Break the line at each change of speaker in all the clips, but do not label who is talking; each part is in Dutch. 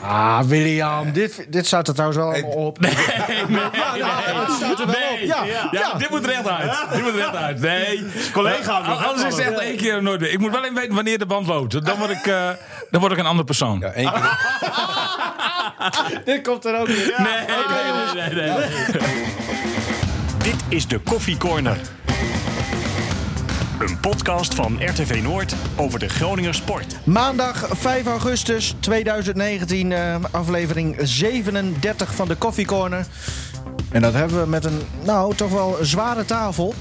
Ah, William, dit, dit staat er trouwens wel allemaal op. Nee, het staat er wel op.
Nee,
Ja,
ja.
ja.
dit moet recht uit. Dit moet recht uit. Nee.
Collega
Al-
nog, hè,
Anders is het echt
Paul?
één keer of nooit weer. Ik moet wel even weten wanneer de band loopt. Dan word ik, eh, dan word ik een ander persoon.
Ja, één keer.
Dit komt er ook in.
Nee, nee, nee, nee, nee.
Dit is de Koffie Corner. Een podcast van RTV Noord over de Groninger sport.
Maandag 5 augustus 2019, eh, aflevering 37 van de Coffee Corner. En dat hebben we met een, nou, toch wel zware tafel.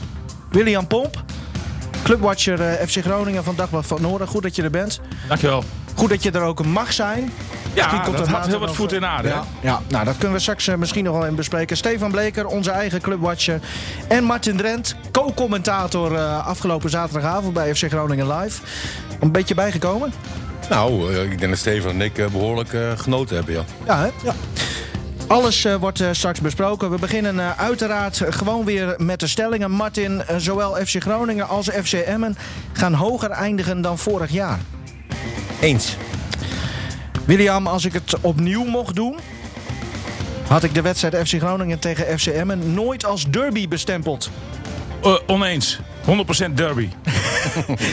William Pomp, clubwatcher eh, FC Groningen van Dagblad van Noorden. Goed dat je er bent.
Dankjewel.
Goed dat je er ook mag zijn.
Ja,
Misschien komt
dat
er
had
later
heel wat
nog,
voet
eh,
in aarde. hè?
Ja, ja, nou dat kunnen we straks eh, misschien nog wel in bespreken. Stefan Bleker, onze eigen clubwatcher. En Martin Drent, co-commentator eh, afgelopen zaterdagavond bij FC Groningen Live. Een beetje bijgekomen?
Nou, eh, ik denk dat Steven en ik eh, behoorlijk eh, genoten hebben, ja.
Ja, hè? Ja. Alles eh, wordt eh, straks besproken. We beginnen eh, uiteraard gewoon weer met de stellingen. Martin, eh, zowel FC Groningen als FC Emmen gaan hoger eindigen dan vorig jaar.
Eens.
William, als ik het opnieuw mocht doen, had ik de wedstrijd FC Groningen tegen FC Emmen nooit als derby bestempeld.
Eh, oneens. 100% derby.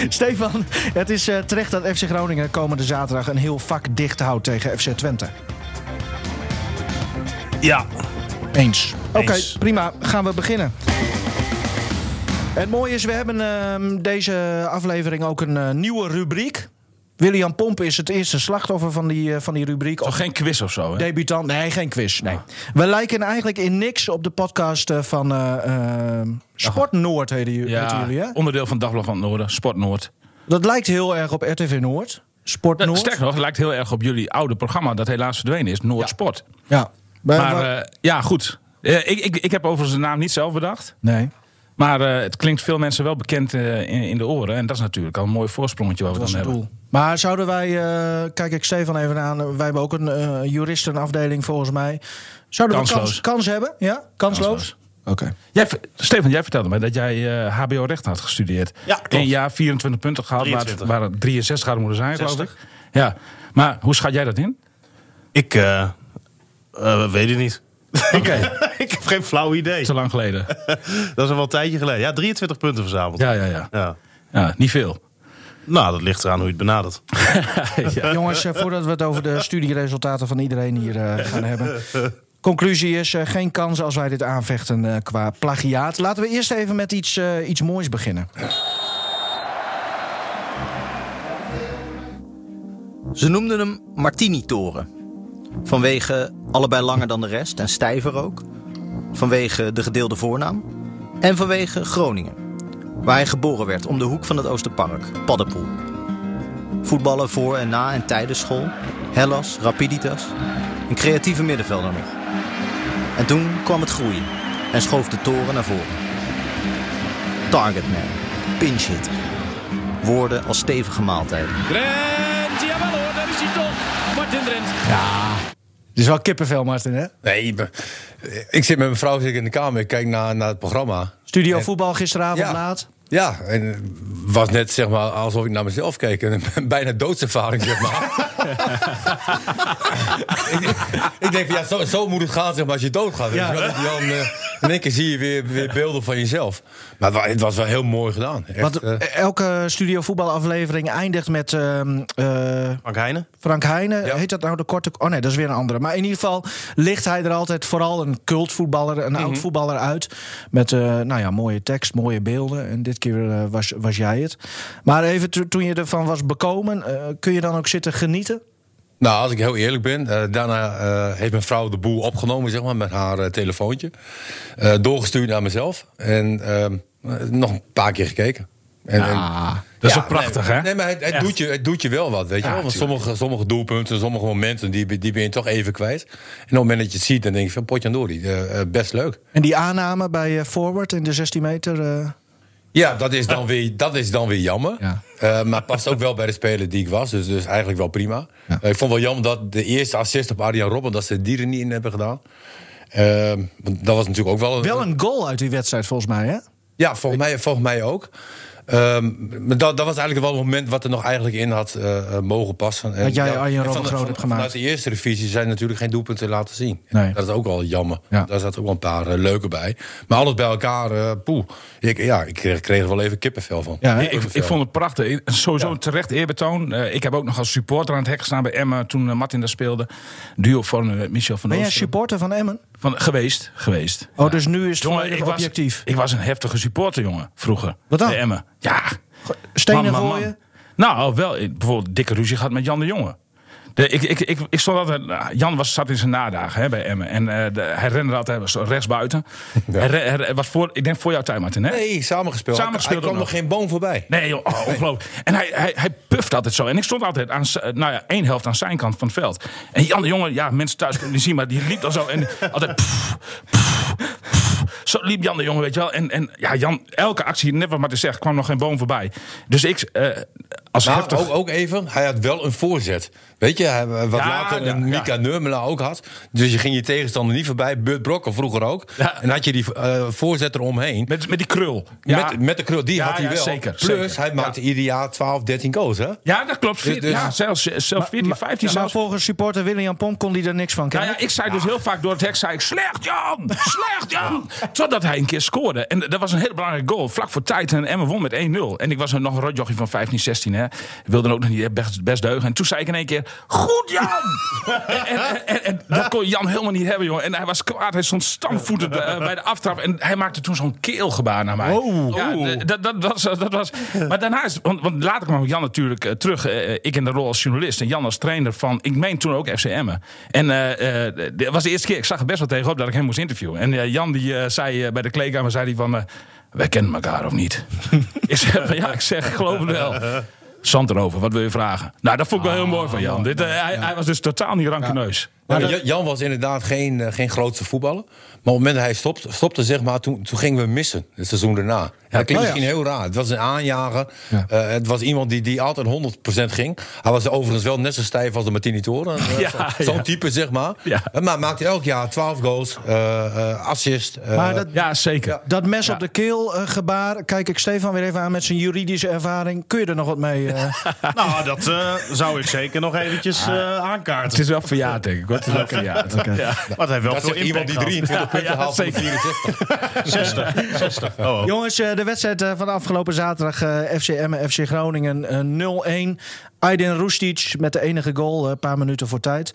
Stefan, het is eh, terecht dat FC Groningen komende zaterdag een heel vak dicht houdt tegen FC Twente.
Ja.
Eens. Oké,
Eens.
prima. Gaan we beginnen. Het mooie is, we hebben ehm, deze aflevering ook een eh, nieuwe rubriek. William Pomp is het eerste slachtoffer van die, eh, van die rubriek.
Toch
Of
geen Ah. quiz of zo, hè?
debutant. Nee, geen quiz. Nee. We lijken eigenlijk in niks op de podcast eh, van eh, ehm, Sport Noord, heette ju- heten jullie. Hè?
onderdeel van Dagblad van het Noorden, Sport Noord.
Dat lijkt heel erg op RTV Noord. Sport
Dat,
Noord.
sterker nog, het lijkt heel erg op jullie oude programma dat helaas verdwenen is, Noord
Ja.
Sport.
Ja. Maar,
Maar
wat-
eh, ja, goed. Eh, ik, ik, ik heb overigens de naam niet zelf bedacht.
nee.
Maar eh, het klinkt veel mensen wel bekend eh, in, in de oren. En dat is natuurlijk al een mooi voorsprongetje wat we dan hebben.
Maar zouden wij, eh, kijk ik Stefan even aan, eh, wij hebben ook een eh, juristenafdeling volgens mij. Zouden we
Kansloos.
kans, kans hebben? Ja, kansloos.
Kansloos.
Oké.
Jij, ver- Stefan, jij vertelde mij dat jij eh, HBO-recht had gestudeerd.
Ja, klopt.
Eén jaar 24 punten gehaald, waar, het-
23.
waar het 63 hadden moeten zijn, geloof ik. Ja, maar hoe schat jij dat in?
Ik eh, eh, weet het niet.
Oké,
ik heb geen flauw idee.
te lang geleden.
Dat is al wel een tijdje geleden. Ja, 23 punten verzameld.
Ja, ja, ja.
Ja.
ja niet veel.
Nou, dat ligt eraan hoe je het benadert.
ja.
Jongens, eh, voordat we het over de studieresultaten van iedereen hier eh, gaan hebben. Conclusie is eh, geen kans als wij dit aanvechten eh, qua plagiaat. Laten we eerst even met iets, eh, iets moois beginnen.
Ze noemden hem Martini-toren. Vanwege allebei langer dan de rest en stijver ook. Vanwege de gedeelde voornaam. En vanwege Groningen. Waar hij geboren werd, om de hoek van het Oosterpark, Paddenpoel. Voetballen voor en na en tijdens school. Hellas, Rapiditas. Een creatieve middenvelder nog. En toen kwam het groeien. En schoof de toren naar voren. Targetman. Pinch hit. Woorden als stevige maaltijden.
Drent, jawel hoor, daar is hij toch. Martin Drent.
Het is wel kippenvel, Martin, hè?
Nee, be- ik zit met mijn vrouw zit ik in de kamer, ik kijk naar, naar het programma.
Studio voetbal gisteravond
Ja.
laat.
Ja, en het was net zeg maar alsof ik naar mezelf keek. Een bijna doodservaring, zeg maar. ik, ik denk, van, ja, zo, zo moet het gaan, zeg maar, als je doodgaat. Ja. Dan, eh, in één keer zie je weer, weer beelden van jezelf. Maar het wa- het was wel heel mooi gedaan. Echt,
Want
eh,
eh, elke studio voetbalaflevering eindigt met ehm, eh,
Frank Heijnen?
Frank Heijnen,
Ja.
heet dat nou de korte... Oh nee, dat is weer een andere. Maar in ieder geval ligt hij er altijd vooral een cultvoetballer, een oud voetballer uit. Met eh, nou ja, mooie tekst, mooie beelden. En dit keer eh, was, was jij het. Maar even to- toen je ervan was bekomen, eh, kun je dan ook zitten genieten?
Nou, als ik heel eerlijk ben, eh, daarna eh, heeft mijn vrouw de boel opgenomen, zeg maar, met haar eh, telefoontje. Eh, doorgestuurd naar mezelf. En ehm, eh, nog een paar keer gekeken. En, en-
dat is
Ja,
ook prachtig,
nee,
hè?
Nee, maar het, het,
Echt.
doet je, het doet je wel wat, weet je
Ja,
wel. Want
tuurlijk.
sommige, sommige doelpunten, sommige momenten, die, ben- die ben je toch even kwijt. En op het moment dat je het ziet, dan denk je van potjandori, eh, eh, best leuk.
En die aanname bij eh, Forward in de 16 meter... eh,
Ja, dat is dan weer, dat is dan weer jammer.
Ja.
Eh, maar past ook wel bij de speler die ik was. Dus, dus eigenlijk wel prima. Eh, ik vond wel jammer dat de eerste assist op Arjan Robben... dat ze die er niet in hebben gedaan. Ehm, want dat was natuurlijk ook wel een...
wel een goal uit die wedstrijd volgens mij, hè?
Ja, volgens mij, volgens mij ook. Ehm, maar dat, dat was eigenlijk wel het moment wat er nog eigenlijk in had eh, eh, mogen passen. En
Dat jij
ja,
Arjen
en
Robben
van-
groot
van-
hebt gemaakt.
Vanuit de eerste divisie zijn natuurlijk geen doelpunten laten zien.
Nee.
Dat is ook wel jammer.
Ja.
Daar zaten ook wel een paar eh, leuke bij. Maar alles bij elkaar, eh, poeh. Ik, ja, ik kreeg, kreeg er wel even kippenvel van.
Ja, hè?
Ik, ik vond het prachtig. Sowieso een terecht eerbetoon. Eh, ik heb ook nog als supporter aan het hek gestaan bij Emma toen eh, Martin daar speelde. Duo van eh, Michel van
Ben jij
Oosten.
supporter van Emmen?
Van, geweest, geweest.
Oh, dus nu is het
Jongen,
volledig
ik was-
objectief.
Ik was een heftige supporter, jongen, vroeger.
Wat dan?
Bij Emmen. Ja.
Stenen
Man, man, man.
gooien?
Nou, wel. ik- Bijvoorbeeld dikke ruzie gehad met Jan de Jonge. De, ik, ik, ik, ik stond altijd, nou, Jan was, zat in zijn nadagen hè, bij Emmen. En eh, de- hij rende altijd hij was rechts buiten. Hij, re- hij re- was voor, ik denk voor jouw tijd, Martin. Hè?
Nee, samengespeeld.
Samengespeeld
Hij kwam
ook
nog
nog.
geen boom voorbij.
Nee, joh, oh, ongelooflijk. En hij, hij, hij puft altijd zo. En ik stond altijd aan, z- nou ja, één helft aan zijn kant van het veld. En Jan de Jonge, ja, mensen thuis kunnen niet zien, maar die liep dan zo. En altijd. pff, pff, pff. zo liep Jan de Jonge, weet je wel. En, en ja, Jan, elke actie, net wat Martin zegt, kwam nog geen boom voorbij. Dus ik, eh, als
Maar
heftig.
Nou, ook, ook even, hij had wel een voorzet. Weet je, hij- wat
Ja,
later
ja,
een
ja.
Mika Nurmela ook had. Dus je ging je tegenstander niet voorbij. Burt Brokken vroeger ook.
Ja.
En had je die eh, voorzet eromheen.
met, met die krul.
Met, met de krul, die
Ja,
had hij
ja,
wel.
zeker,
Plus,
zeker.
hij maakte ieder jaar 12, 13 goals, hè?
Ja, dat klopt.
Dus- dus-
ja, zelfs, zelfs 14, 15
Maar
zelfs.
volgens supporter William Pomp kon hij er niks van
Nou
kennen.
ja, ik zei dus heel vaak door het hek, zei ik, slecht Jan, slecht Jan. Totdat hij een keer scoorde. En dat was een heel belangrijk goal, vlak voor tijd. En Emmen won met 1-0. En ik was nog een rotjochie van 15, 16. Hè. Ik wilde ook nog niet best, best deugen. En toen zei ik in één keer, goed Jan! en, en, en, en dat kon Jan helemaal niet hebben, jongen. En hij was kwaad, hij stond stampvoetend eh, bij de aftrap. En hij maakte toen zo'n keelgebaar naar mij. Ja, d- dat, dat, was, eh, dat was... Maar daarna is, want, want later kwam Jan natuurlijk eh, terug. eh, ik in de rol als journalist en Jan als trainer van, ik meen toen ook FC Emmen. En eh, eh, dit was de eerste keer, ik zag er best wel tegenop dat ik hem moest interviewen. En eh, Jan die eh, zei eh, bij de kleedkamer, zei hij van, eh, wij kennen elkaar of niet? ik zeg, van, ja, ik zeg, ik geloof het wel. Zand erover, wat wil je vragen? Nou, dat vond ik wel
Ah,
heel mooi van Jan. Dit, eh, hij, hij was dus totaal niet rankeneus.
Nou, Jan- Jan was inderdaad geen, eh, geen grootste voetballer. Maar op het moment dat hij stopt, stopte, zeg maar, toen, toen gingen we missen. Het seizoen daarna. En dat klinkt
ja.
misschien heel raar. Het was een aanjager. Eh, het was iemand die, die altijd 100% ging. Hij was overigens wel net zo stijf als de Martini Toren. Eh,
Ja,
zo- Zo'n
ja.
type, zeg maar.
Ja.
Eh, Maar maakte elk jaar 12 goals, eh, eh, assist. eh,
Maar dat,
Ja, zeker.
dat mes op de keel eh, gebaar, kijk ik Stefan weer even aan met zijn juridische ervaring. Kun je er nog wat mee? eh?
Nou, dat eh, zou ik zeker nog eventjes eh,
Het
aankaarten.
is wel verjaard, denk ik. hoor. Het is wel verjaard.
Maar het heeft wel
dat
veel
zegt
impact
iemand die 23
gehad.
punten
ja,
haalt van de
zeker.
64.
60, 60. Oh, oh.
Jongens, eh, de wedstrijd eh, van afgelopen zaterdag eh FC Emmen, FC Groningen eh, 0-1. Aydin Rustic met de enige goal, eh, een paar minuten voor tijd.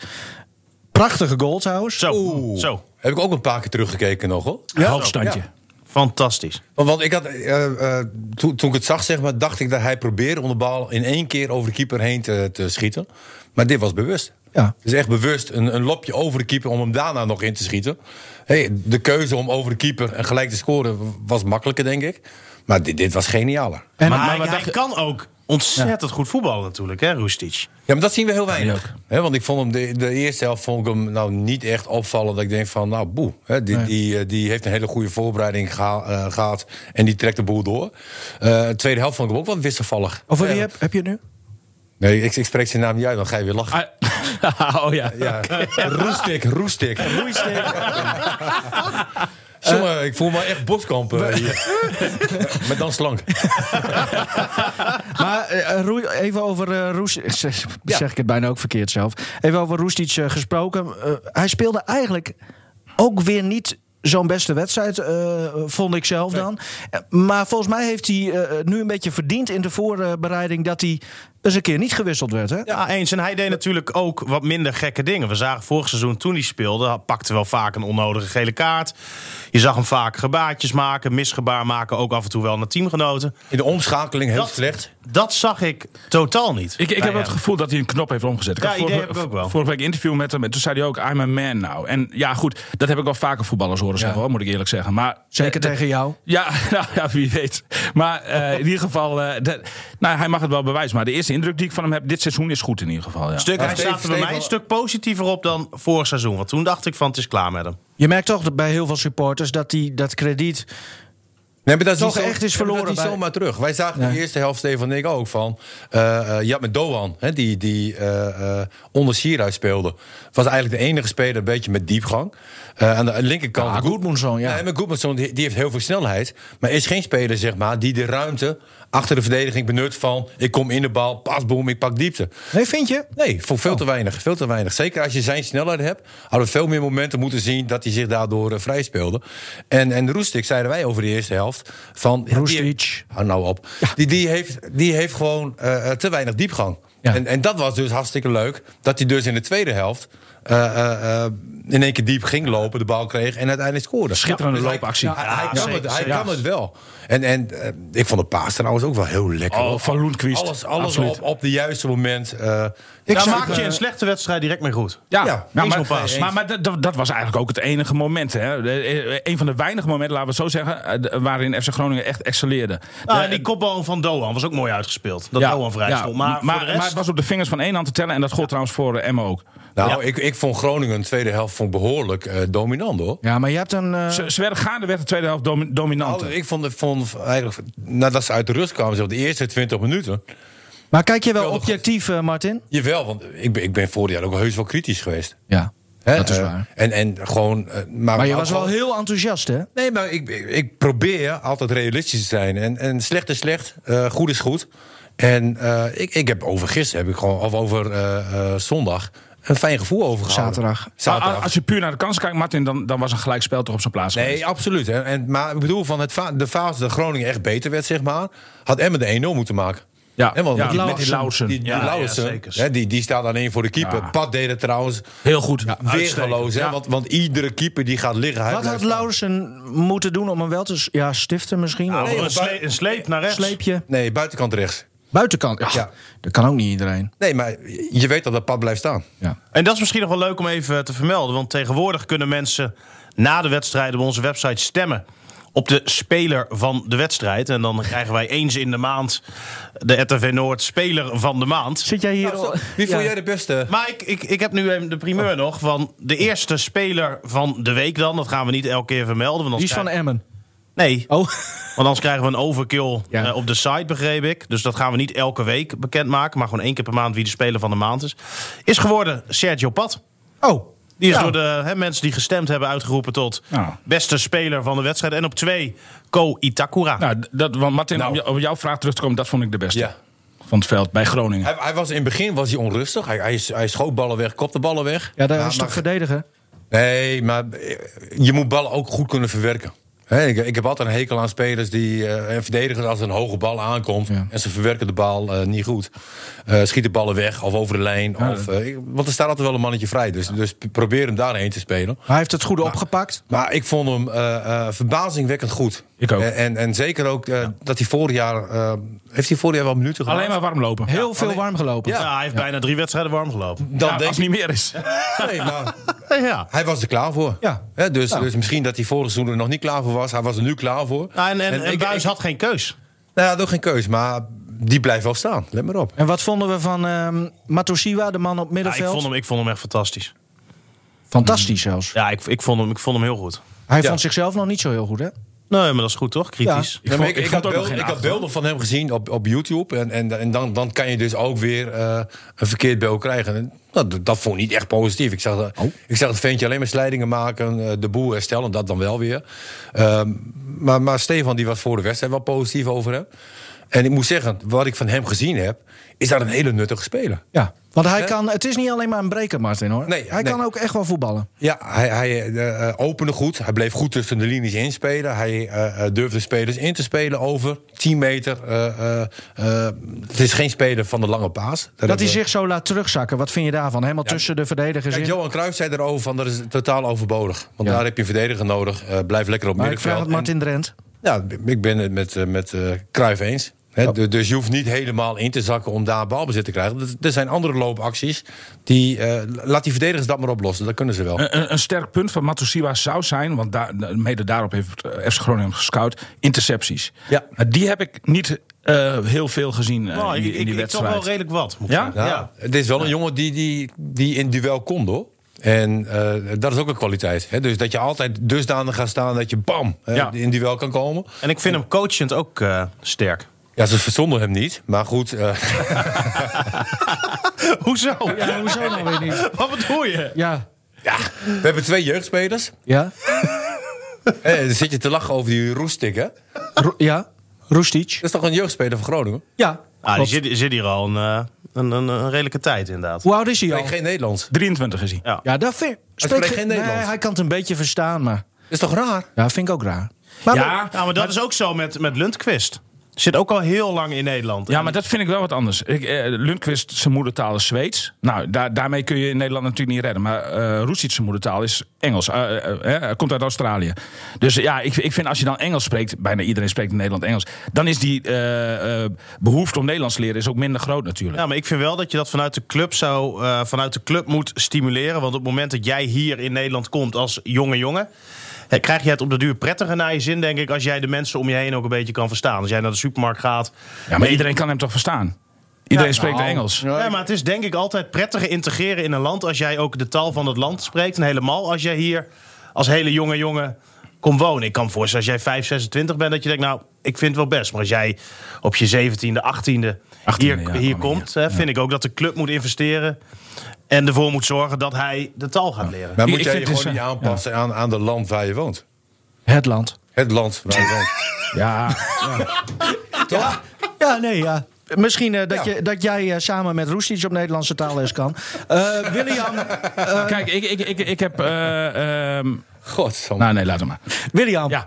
Prachtige goal trouwens.
Zo,
Oeh.
zo.
Heb ik ook een paar keer teruggekeken nog, hoor.
Hoogstandje.
Ja.
Fantastisch.
Want, want ik had, eh, eh, toen, toen ik het zag, zeg maar, dacht ik dat hij probeerde om de bal in één keer over de keeper heen te, te schieten. Maar dit was bewust.
Ja.
Het is echt bewust een, een lopje over de keeper om hem daarna nog in te schieten. Hey, de keuze om over de keeper en gelijk te scoren was makkelijker, denk ik. Maar dit, dit was genialer.
En
maar
maar
hij,
wat
hij
dacht je-
kan ook ontzettend goed voetballen natuurlijk, hè, Roestic.
Ja, maar dat zien we heel weinig.
ook.
Hè, want ik vond hem de, de eerste helft vond ik hem nou niet echt opvallend. Dat ik denk van, nou boe, hè, die, die, eh, die heeft een hele goede voorbereiding geha- eh, gehad. En die trekt de boel door. Eh, de tweede helft vond ik hem ook wat wisselvallig.
Over
Ja.
wie heb, heb je het nu?
Nee, ik, ik spreek zijn naam niet uit, dan ga je weer lachen.
Ah, oh ja.
ja. Roestik, roestik. Jongen, ik voel me echt boskamp eh, hier. maar dan slank.
Maar eh, eh, Roe- even over eh, Roestic. Zeg, zeg ik het bijna ook verkeerd zelf. Even over Roestic eh, gesproken. Eh, hij speelde eigenlijk ook weer niet zo'n beste wedstrijd, eh, vond ik zelf dan. Eh, Maar volgens mij heeft hij eh, nu een beetje verdiend in de voorbereiding dat hij eens een keer niet gewisseld werd. Hè?
Ja, eens. En hij deed natuurlijk ook wat minder gekke dingen. We zagen vorig seizoen toen hij speelde, hij pakte wel vaak een onnodige gele kaart. Je zag hem vaak gebaartjes maken, misgebaar maken, ook af en toe wel naar teamgenoten.
In de omschakeling heel slecht.
Dat zag ik totaal niet.
Ik, ik
bij
heb wel
hem.
het gevoel dat hij een knop heeft omgezet. Ik
Ja,
had
idee
vorige,
heb ik ook wel.
vorige week een interview met hem en toen zei hij ook, I'm a man now. En ja, goed, dat heb ik wel vaker voetballers horen zeggen, hoor, moet ik eerlijk zeggen. Maar,
Zeker
eh,
tegen jou.
Ja, nou, ja, wie weet. Maar eh, in ieder geval, eh, dat- nou, hij mag het wel bewijzen. Maar de eerste indruk die ik van hem heb dit seizoen is goed in ieder geval. Ja.
Stuk, hij
Steven-
staat er bij
Steven-
mij een stuk positiever op dan vorig seizoen. Want toen dacht ik van, het is klaar met hem.
Je merkt toch dat bij heel veel supporters dat die, dat krediet
Nee, maar dat is
Toch
niet zo-
echt is
Ja, maar
verloren
Dat is
bij-
niet zomaar terug. Wij zagen in de eerste helft, Stefan en ik ook, van... eh, eh, je had met Doan, hè, die, die eh, eh, onder Sierhuis speelde. Was eigenlijk de enige speler een beetje met diepgang. Eh, aan de linkerkant...
Ah, Gudmundsson, ja.
Nee, maar Gudmundsson, die, die heeft heel veel snelheid. Maar is geen speler, zeg maar, die de ruimte achter de verdediging benut van... ik kom in de bal, pas, boom, ik pak diepte.
Nee, vind je?
Nee, voor
Oh.
veel te weinig. Veel te weinig. Zeker als je zijn snelheid hebt, hadden we veel meer momenten moeten zien dat hij zich daardoor eh, vrij speelde. En, en Roestic zeiden wij over de eerste helft van. ja,
Roestic.
die- Hou nou op. Die, die, heeft, die heeft gewoon eh, eh, te weinig diepgang.
Ja.
En, en dat was dus hartstikke leuk. Dat hij dus in de tweede helft. eh, eh, eh, in één keer diep ging lopen, de bal kreeg en uiteindelijk scoorde.
Schitterende
Dus hij-
loopactie.
hij- hij,
Ja,
kan,
zeker,
het, hij
zeker.
kan het wel. En, en eh, ik vond de paas trouwens ook wel heel lekker.
Oh,
hoor.
van Lundqvist.
Alles, alles
Absoluut.
op, op de juiste moment. eh, ik
Daar
zou-
maak je een slechte wedstrijd direct mee goed.
Ja,
Ja, nou,
eens
maar,
op paas.
maar, maar dat- dat, dat was eigenlijk ook het enige moment. Hè. De- eh, Een van de weinige momenten, laten we het zo zeggen, eh, de- waarin FC Groningen echt excelleerde.
Nou,
De-
Ah,
en die kopbal van Doan was ook mooi uitgespeeld. Dat
ja,
Doan vrij
ja,
stond. Maar,
maar,
voor de rest...
maar het was op de vingers van één hand te tellen. En dat gold trouwens voor eh, Emma ook.
Nou, ik, ik vond Groningen de tweede helft vond behoorlijk eh, dominant hoor.
Ja, maar je hebt een... eh,
Ze, ze werden gaande, werd de tweede helft domi- dominanter.
Nou, ik vond, vond eigenlijk, nadat Nou, ze uit de rust kwamen, zeg, de eerste 20 minuten.
Maar kijk je wel
Geweldig.
objectief, eh, Martin?
Jawel, want ik ben, ik ben vorig jaar ook heus wel kritisch geweest.
Ja,
Hè,
dat is
eh,
waar.
En, en gewoon, eh, maar,
Maar je
ook
was wel
gewoon-
heel enthousiast, hè?
Nee, maar ik, ik, ik probeer altijd realistisch te zijn. En, en slecht is slecht, eh, goed is goed. En eh, ik, ik heb over gisteren, heb ik gewoon, of over eh, eh, zondag, een fijn gevoel overgehouden.
Zaterdag.
Maar a-
Zaterdag.
Als je puur naar de kans kijkt, Martin, dan, dan was een gelijkspel toch op zijn plaats. geweest.
Nee, absoluut. En, en, maar ik bedoel, van het fa- de fase dat Groningen echt beter werd, zeg maar, had Emmen de 1-0 moeten maken.
Ja,
Hè, want
ja,
met die-
met
met
die Lauwersen.
Die, die
Ja,
Lauwersen,
ja, zeker.
hè, die, die staat alleen voor de keeper.
Ja.
Pat deed het trouwens
Heel goed.
weergeloos. hè, want, want iedere keeper die gaat liggen... hij
Wat had
blijft
Laurensen moeten doen om hem wel te... s- Ja, stiften misschien?
Nou,
of
een,
want-
sle- een sleep naar rechts.
sleepje?
staan. Nee, buitenkant rechts.
Buitenkant? Ach,
Ja.
Dat kan ook niet iedereen.
Nee, maar je weet dat dat Pat blijft staan.
Ja.
En dat is misschien nog wel leuk om even te vermelden. Want tegenwoordig kunnen mensen na de wedstrijd op onze website stemmen. Op de speler van de wedstrijd. En dan krijgen wij eens in de maand de RTV Noord speler van de maand.
Zit jij hier...
Nou, Wie vond jij de beste?
Maar ik, ik, ik heb nu even de primeur
Oh.
nog van de eerste speler van de week dan. Dat gaan we niet elke keer vermelden. Want
Die
anders
is van
krijg-
Emmen.
Nee,
Oh,
want anders krijgen we een overkill
Ja.
eh, op de site, begreep ik. Dus dat gaan we niet elke week bekendmaken. Maar gewoon één keer per maand wie de speler van de maand is. Is geworden Sergio Pat.
oh.
Die is
Ja.
door de hè, mensen die gestemd hebben uitgeroepen tot
Ja.
beste speler van de wedstrijd. En op twee, Ko Itakura.
Nou, d- dat, want Martin,
Nou.
om, jou- om jouw vraag terug te komen, dat vond ik de beste.
Ja.
Van het veld bij Groningen.
Hij, hij was in het begin was hij onrustig. Hij, hij, hij schoot ballen weg, kopte ballen weg.
Ja, daar
Maar-
is toch
maar-
verdedigen?
Nee, maar eh, je moet ballen ook goed kunnen verwerken. Hè, ik, ik heb altijd een hekel aan spelers die eh, en verdedigers als er een hoge bal aankomt
Ja.
en ze verwerken de bal eh, niet goed. Eh schieten ballen weg of over de lijn. of, eh, ik- want er staat altijd wel een mannetje vrij. Dus, dus probeer hem daarheen te spelen.
Hij heeft het
Nou,
goede opgepakt.
Maar ik vond hem eh, eh, verbazingwekkend goed.
Ik ook.
En, en, en zeker ook eh, dat hij vorig jaar. eh, heeft hij vorig jaar wel minuten gemaakt?
Alleen maar warm lopen.
Heel veel warm gelopen.
Ja, hij heeft bijna drie wedstrijden warm gelopen.
Dan
Ja,
denk
als
ik
het niet meer is.
nee, maar
Ja.
hij was er klaar voor.
Ja.
Hè, dus, dus misschien dat hij vorig seizoen er nog niet klaar voor was. Hij was er nu klaar voor.
Nou, en en, en,
ik-
Buijs
ik-
had geen keus.
Nou ja, nog geen keus, maar die blijft wel staan. Let maar op.
En wat vonden we van ehm Matosiwa, de man op
Ja, ik,
middenveld?
vond hem, ik vond hem echt fantastisch.
Fantastisch zelfs.
Ja, ik, ik, vond hem, ik vond hem heel goed.
Hij
Ja.
vond zichzelf nog niet zo heel goed, hè?
Nee, maar dat is goed toch? Kritisch.
Ja, maar
vond-
Ik
ik
ik
vond
had
ook nog
beelden-
geen
ik had
acht, hoor.
beelden van hem gezien op, op YouTube. En, en, en dan, dan kan je dus ook weer eh, een verkeerd beeld krijgen. En dat, dat vond ik niet echt positief. Ik zag,
Oh.
dat- ik zag het ventje alleen maar slijdingen maken, eh, de boel herstellen, dat dan wel weer. Ehm, maar, maar Stefan die was voor de wedstrijd wel positief over hem. En ik moet zeggen, wat ik van hem gezien heb, is dat een hele nuttige speler.
Ja. Want hij
Hè?
kan, het is niet alleen maar een breker, Martin, hoor.
Nee,
hij
nee.
kan ook echt wel voetballen.
Ja, hij, hij eh, eh, opende goed. Hij bleef goed tussen de linies inspelen. Hij eh, eh, durfde spelers in te spelen over 10 meter. eh, eh, eh, het is geen speler van de lange paas. Daar
Dat hij
hebben-
zich zo laat terugzakken, wat vind je daarvan? Helemaal tussen de verdedigers
Kijk,
in.
Johan Cruijff zei erover van dat is totaal overbodig. Want
Ja.
daar heb je een verdediger nodig. Eh, blijf lekker op
Maar ik vraag
middenveld.
het Martin Drent.
En, ja, ik ben het met, eh, met eh Cruijff eens. Hè, du- Dus je hoeft niet helemaal in te zakken om daar balbezit te krijgen. Er- Er zijn andere loopacties. Die, eh, laat die verdedigers dat maar oplossen. Dat kunnen ze wel.
Een, een- een sterk punt van Matosiwa zou zijn, want daar, mede daarop heeft eh, FC Groningen hem gescout, intercepties.
Ja.
Maar die heb ik niet eh, heel veel gezien eh,
Nou,
in
ik,
die, in
ik,
die
ik toch
wedstrijd.
wel redelijk wat. moet ik
Ja?
zeggen.
Ja, Het is wel een jongen die, die, die in duel komt hoor. En eh, dat is ook een kwaliteit. Hè? Dus dat je altijd dusdanig gaat staan dat je bam hè,
Ja.
in duel kan komen.
En ik vind hem coachend ook eh, sterk.
Ja, ze verzonden hem niet. Maar goed, eh,
Hoezo?
Ja, hoezo nou weer niet?
Wat bedoel je?
Ja.
ja, we hebben twee jeugdspelers.
Ja?
Eh, dan zit je te lachen over die Roestik, hè? Dat
Ro- ja? Roestic?
is toch een jeugdspeler van Groningen?
Ja.
Ah, die
klopt.
zit, zit hier al een, eh, een, een, een redelijke tijd inderdaad.
Hoe oud is hij
Nee,
al?
geen Nederlands.
23 is hij.
Ja.
Ja, dat vind
spreekt geen Nederlands.
Nee, hij kan het een beetje verstaan, maar...
Dat is toch raar?
Ja, vind ik ook raar.
Maar,
Ja,
nou, maar dat is ook zo met, met Lundqvist. Zit ook al heel lang in Nederland.
Ja, maar dat vind ik wel wat anders. Ik, eh, Lundqvist, zijn moedertaal is Zweeds. Nou, daar, daarmee kun je in Nederland natuurlijk niet redden. Maar eh Rusic, zijn moedertaal is Engels. Eh, eh, eh, Hij komt uit Australië. Dus eh, ja, ik, ik vind als je dan Engels spreekt... bijna iedereen spreekt in Nederland Engels... dan is die eh, eh, behoefte om Nederlands te leren is ook minder groot natuurlijk.
Ja, maar ik vind wel dat je dat vanuit de club zou, eh, vanuit de club moet stimuleren. Want op het moment dat jij hier in Nederland komt als jonge jongen, eh, krijg je het op de duur prettiger naar je zin, denk ik, als jij de mensen om je heen ook een beetje kan verstaan. Als jij naar de supermarkt gaat.
Ja, maar iedereen kan hem toch verstaan? Iedereen spreekt Engels.
Ja, maar het is denk ik altijd prettiger integreren in een land als jij ook de taal van het land spreekt. En helemaal als jij hier als hele jonge jongen komt wonen. Ik kan me voorstellen als jij 5, 26 bent dat je denkt, nou, ik vind het wel best. Maar als jij op je 17e, 18e
18e,
hier,
ja, kwam
hier
hier.
komt, hè, vind ik ook dat de club moet investeren. En ervoor moet zorgen dat hij de taal gaat leren.
Maar
Ik-
moet
ik
jij je
vind
gewoon
het dus-
niet
zo-
aanpassen aan, aan de land waar je woont?
Het land.
Het land waar je woont.
Ja,
Ja, nee, ja. Misschien eh, dat, je, dat jij eh, samen met Roestic op Nederlandse taalles kan. Eh, William,
Eh,
kijk, ik, ik, ik, ik heb... eh, ehm,
Godsamme.
nou nee, laat hem maar.
William
Ja,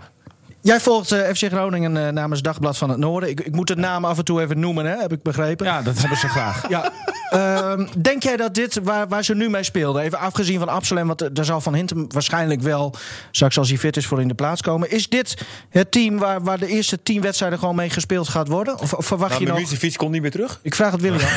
jij volgt eh, FC Groningen eh, namens Dagblad van het Noorden. Ik, ik moet de naam af en toe even noemen, hè, heb ik begrepen.
ja, dat hebben ze graag.
Ja. Ehm, denk jij dat dit, waar, waar ze nu mee speelden, even afgezien van Absalem, want eh, daar zal Van Hintem waarschijnlijk wel, straks als hij fit is, voor in de plaats komen. Is dit het team waar, waar de eerste tien wedstrijden gewoon mee gespeeld gaat worden? Of, of verwacht
Nou,
je nog...
mijn fiets komt niet meer terug.
Ik vraag het William.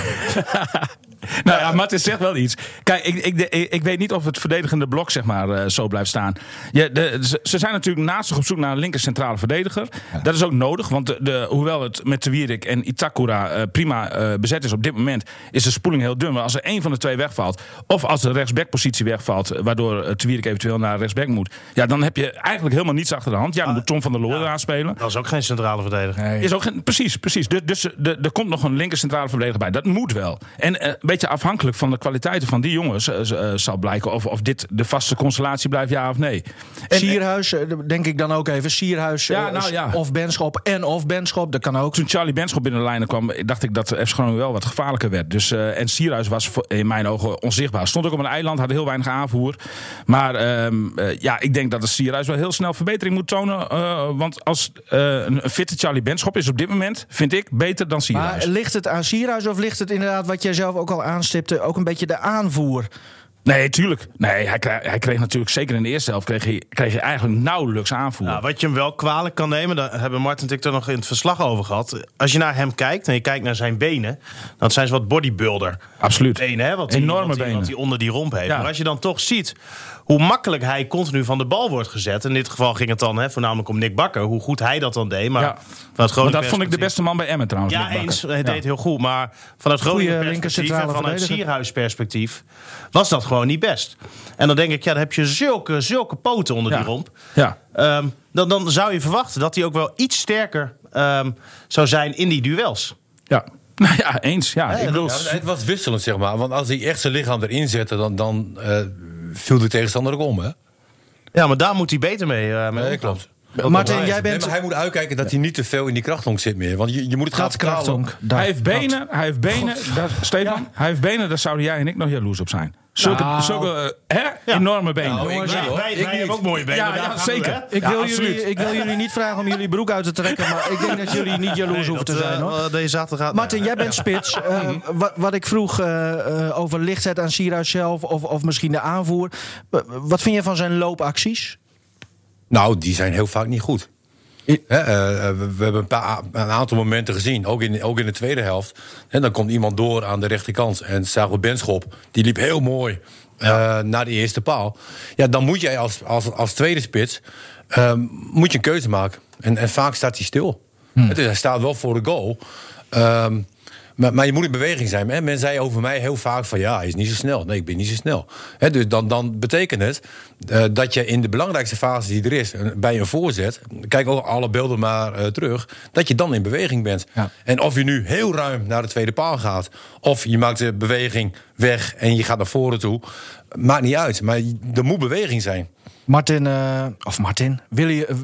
Nou ja, Martin zegt wel iets. Kijk, ik, ik, ik, ik weet niet of het verdedigende blok zeg maar, eh, zo blijft staan. Ja, de, ze, ze zijn natuurlijk naast zich op zoek naar een linker centrale verdediger. Dat is ook nodig, want de, de- hoewel het met Te Wierik en Itakura eh, prima eh, bezet is op dit moment, is de spoeling heel dun. Maar als er één van de twee wegvalt, of als de rechtsbackpositie wegvalt, eh, waardoor eh, Te Wierik eventueel naar rechtsback moet, ja, dan heb je eigenlijk helemaal niets achter de hand. Ja, dan moet Tom van der Loor aanspelen.
Dat is ook geen centrale verdediger.
Is ook geen- precies, precies. Dus, dus er er komt nog een linker centrale verdediger bij. Dat moet wel. En eh, een beetje afhankelijk van de kwaliteiten van die jongens eh, z- eh, zal blijken of, of dit de vaste constellatie blijft, ja of nee. En, eh,
Sierhuis, eh, denk ik dan ook even. Sierhuis eh,
Ja, nou ja.
of Benschop en of Benschop, dat kan ook.
toen Charlie Benschop binnen de lijnen kwam, eh, dacht ik dat FC Groningen wel wat gevaarlijker werd. Dus, eh, en Sierhuis was voor- in mijn ogen onzichtbaar. Stond ook op een eiland, had heel weinig aanvoer. Maar ehm, eh, ja, ik denk dat de Sierhuis wel heel snel verbetering moet tonen. eh, want als eh, een een fitte Charlie Benschop is op dit moment, vind ik, beter dan Sierhuis.
Maar ligt het aan Sierhuis of ligt het inderdaad, wat jij zelf ook al aanstipte, ook een beetje de aanvoer?
Nee, tuurlijk. Nee, hij kreeg, hij kreeg natuurlijk, zeker in de eerste helft, kreeg hij, kreeg hij eigenlijk nauwelijks aanvoer.
Nou, wat je hem wel kwalijk kan nemen, daar hebben Martin en ik er nog in het verslag over gehad. Als je naar hem kijkt en je kijkt naar zijn benen, dan zijn ze wat bodybuilder.
Absoluut.
benen, hè? Wat die-
Enorme
wat die-
benen.
Wat hij onder die romp heeft.
Ja.
Maar als je dan toch ziet hoe makkelijk hij continu van de bal wordt gezet. In dit geval ging het dan hè, voornamelijk om Nick Bakker. Hoe goed hij dat dan deed. Maar
Ja.
vanuit
Want
Groningen
dat vond ik de beste man bij Emmen trouwens.
Ja,
Nick Bakker.
eens. Hij deed heel goed. Maar vanuit Groningen perspectief
linkercentrale
en vanuit
verdediger.
Sierhuis perspectief was dat gewoon niet best. En dan denk ik, ja, dan heb je zulke, zulke poten onder
Ja.
eh, die romp.
Ja.
Ehm, dan, dan zou je verwachten dat hij ook wel iets sterker ehm, zou zijn in die duels.
ja. Nou ja, eens. Ja. ik bedoel,
Ja, het was wisselend, zeg maar. Want als hij echt zijn lichaam erin zette, dan, dan eh, viel de tegenstander ook om, hè?
Ja, maar daar moet hij beter mee. eh, mee
Nee,
omgaan.
klopt.
Martin, jij
Nee,
bent-
maar hij moet uitkijken dat hij niet te veel in die krachthonk zit meer. Want je, je moet het gaan
Dat krachtonk.
hij heeft benen, hij heeft benen. Daar, Stefan, hij heeft benen, daar zouden jij en ik nog jaloers op zijn. Zulke, zulke eh, hè? enorme benen.
ik
Ja,
niet, hoor.
wij
Ik
wij
niet.
hebben ook mooie benen.
Ja, ja,
daar gaan we,
zeker.
hè?
Ik,
Ja,
wil
absoluut.
jullie, ik wil jullie niet vragen om jullie broek uit te trekken, maar ik denk dat jullie niet jaloers hoeven te
Dat,
zijn.
eh,
Hoor.
eh, Deze zaterdag gaat.
Martin, jij bent spits. Eh, wat, wat ik vroeg eh, eh, over lichtheid aan Sierhuis zelf of, of misschien de aanvoer. Wa- Wat vind je van zijn loopacties?
Nou, die zijn heel vaak niet goed. Hè, eh, eh, we we hebben een, paar, een aantal momenten gezien, ook in, ook in de tweede helft. En dan komt iemand door aan de rechterkant. En zagen we Benschop, die liep heel mooi eh, naar de eerste paal. Ja, dan moet jij als, als, als tweede spits eh, moet je een keuze maken. En, en vaak staat hij stil. Het is, hij staat wel voor de goal. Ehm, Maar, maar je moet in beweging zijn. Hè? Men zei over mij heel vaak van ja, hij is niet zo snel. Nee, ik ben niet zo snel. Hè, dus dan, dan betekent het eh, dat je in de belangrijkste fase die er is, eh, bij een voorzet, kijk ook alle beelden maar eh, terug, dat je dan in beweging bent.
Ja.
En of je nu heel ruim naar de tweede paal gaat, of je maakt de beweging weg en je gaat naar voren toe, maakt niet uit. Maar je- er moet beweging zijn.
Martin, eh, of Martin, Willi- eh,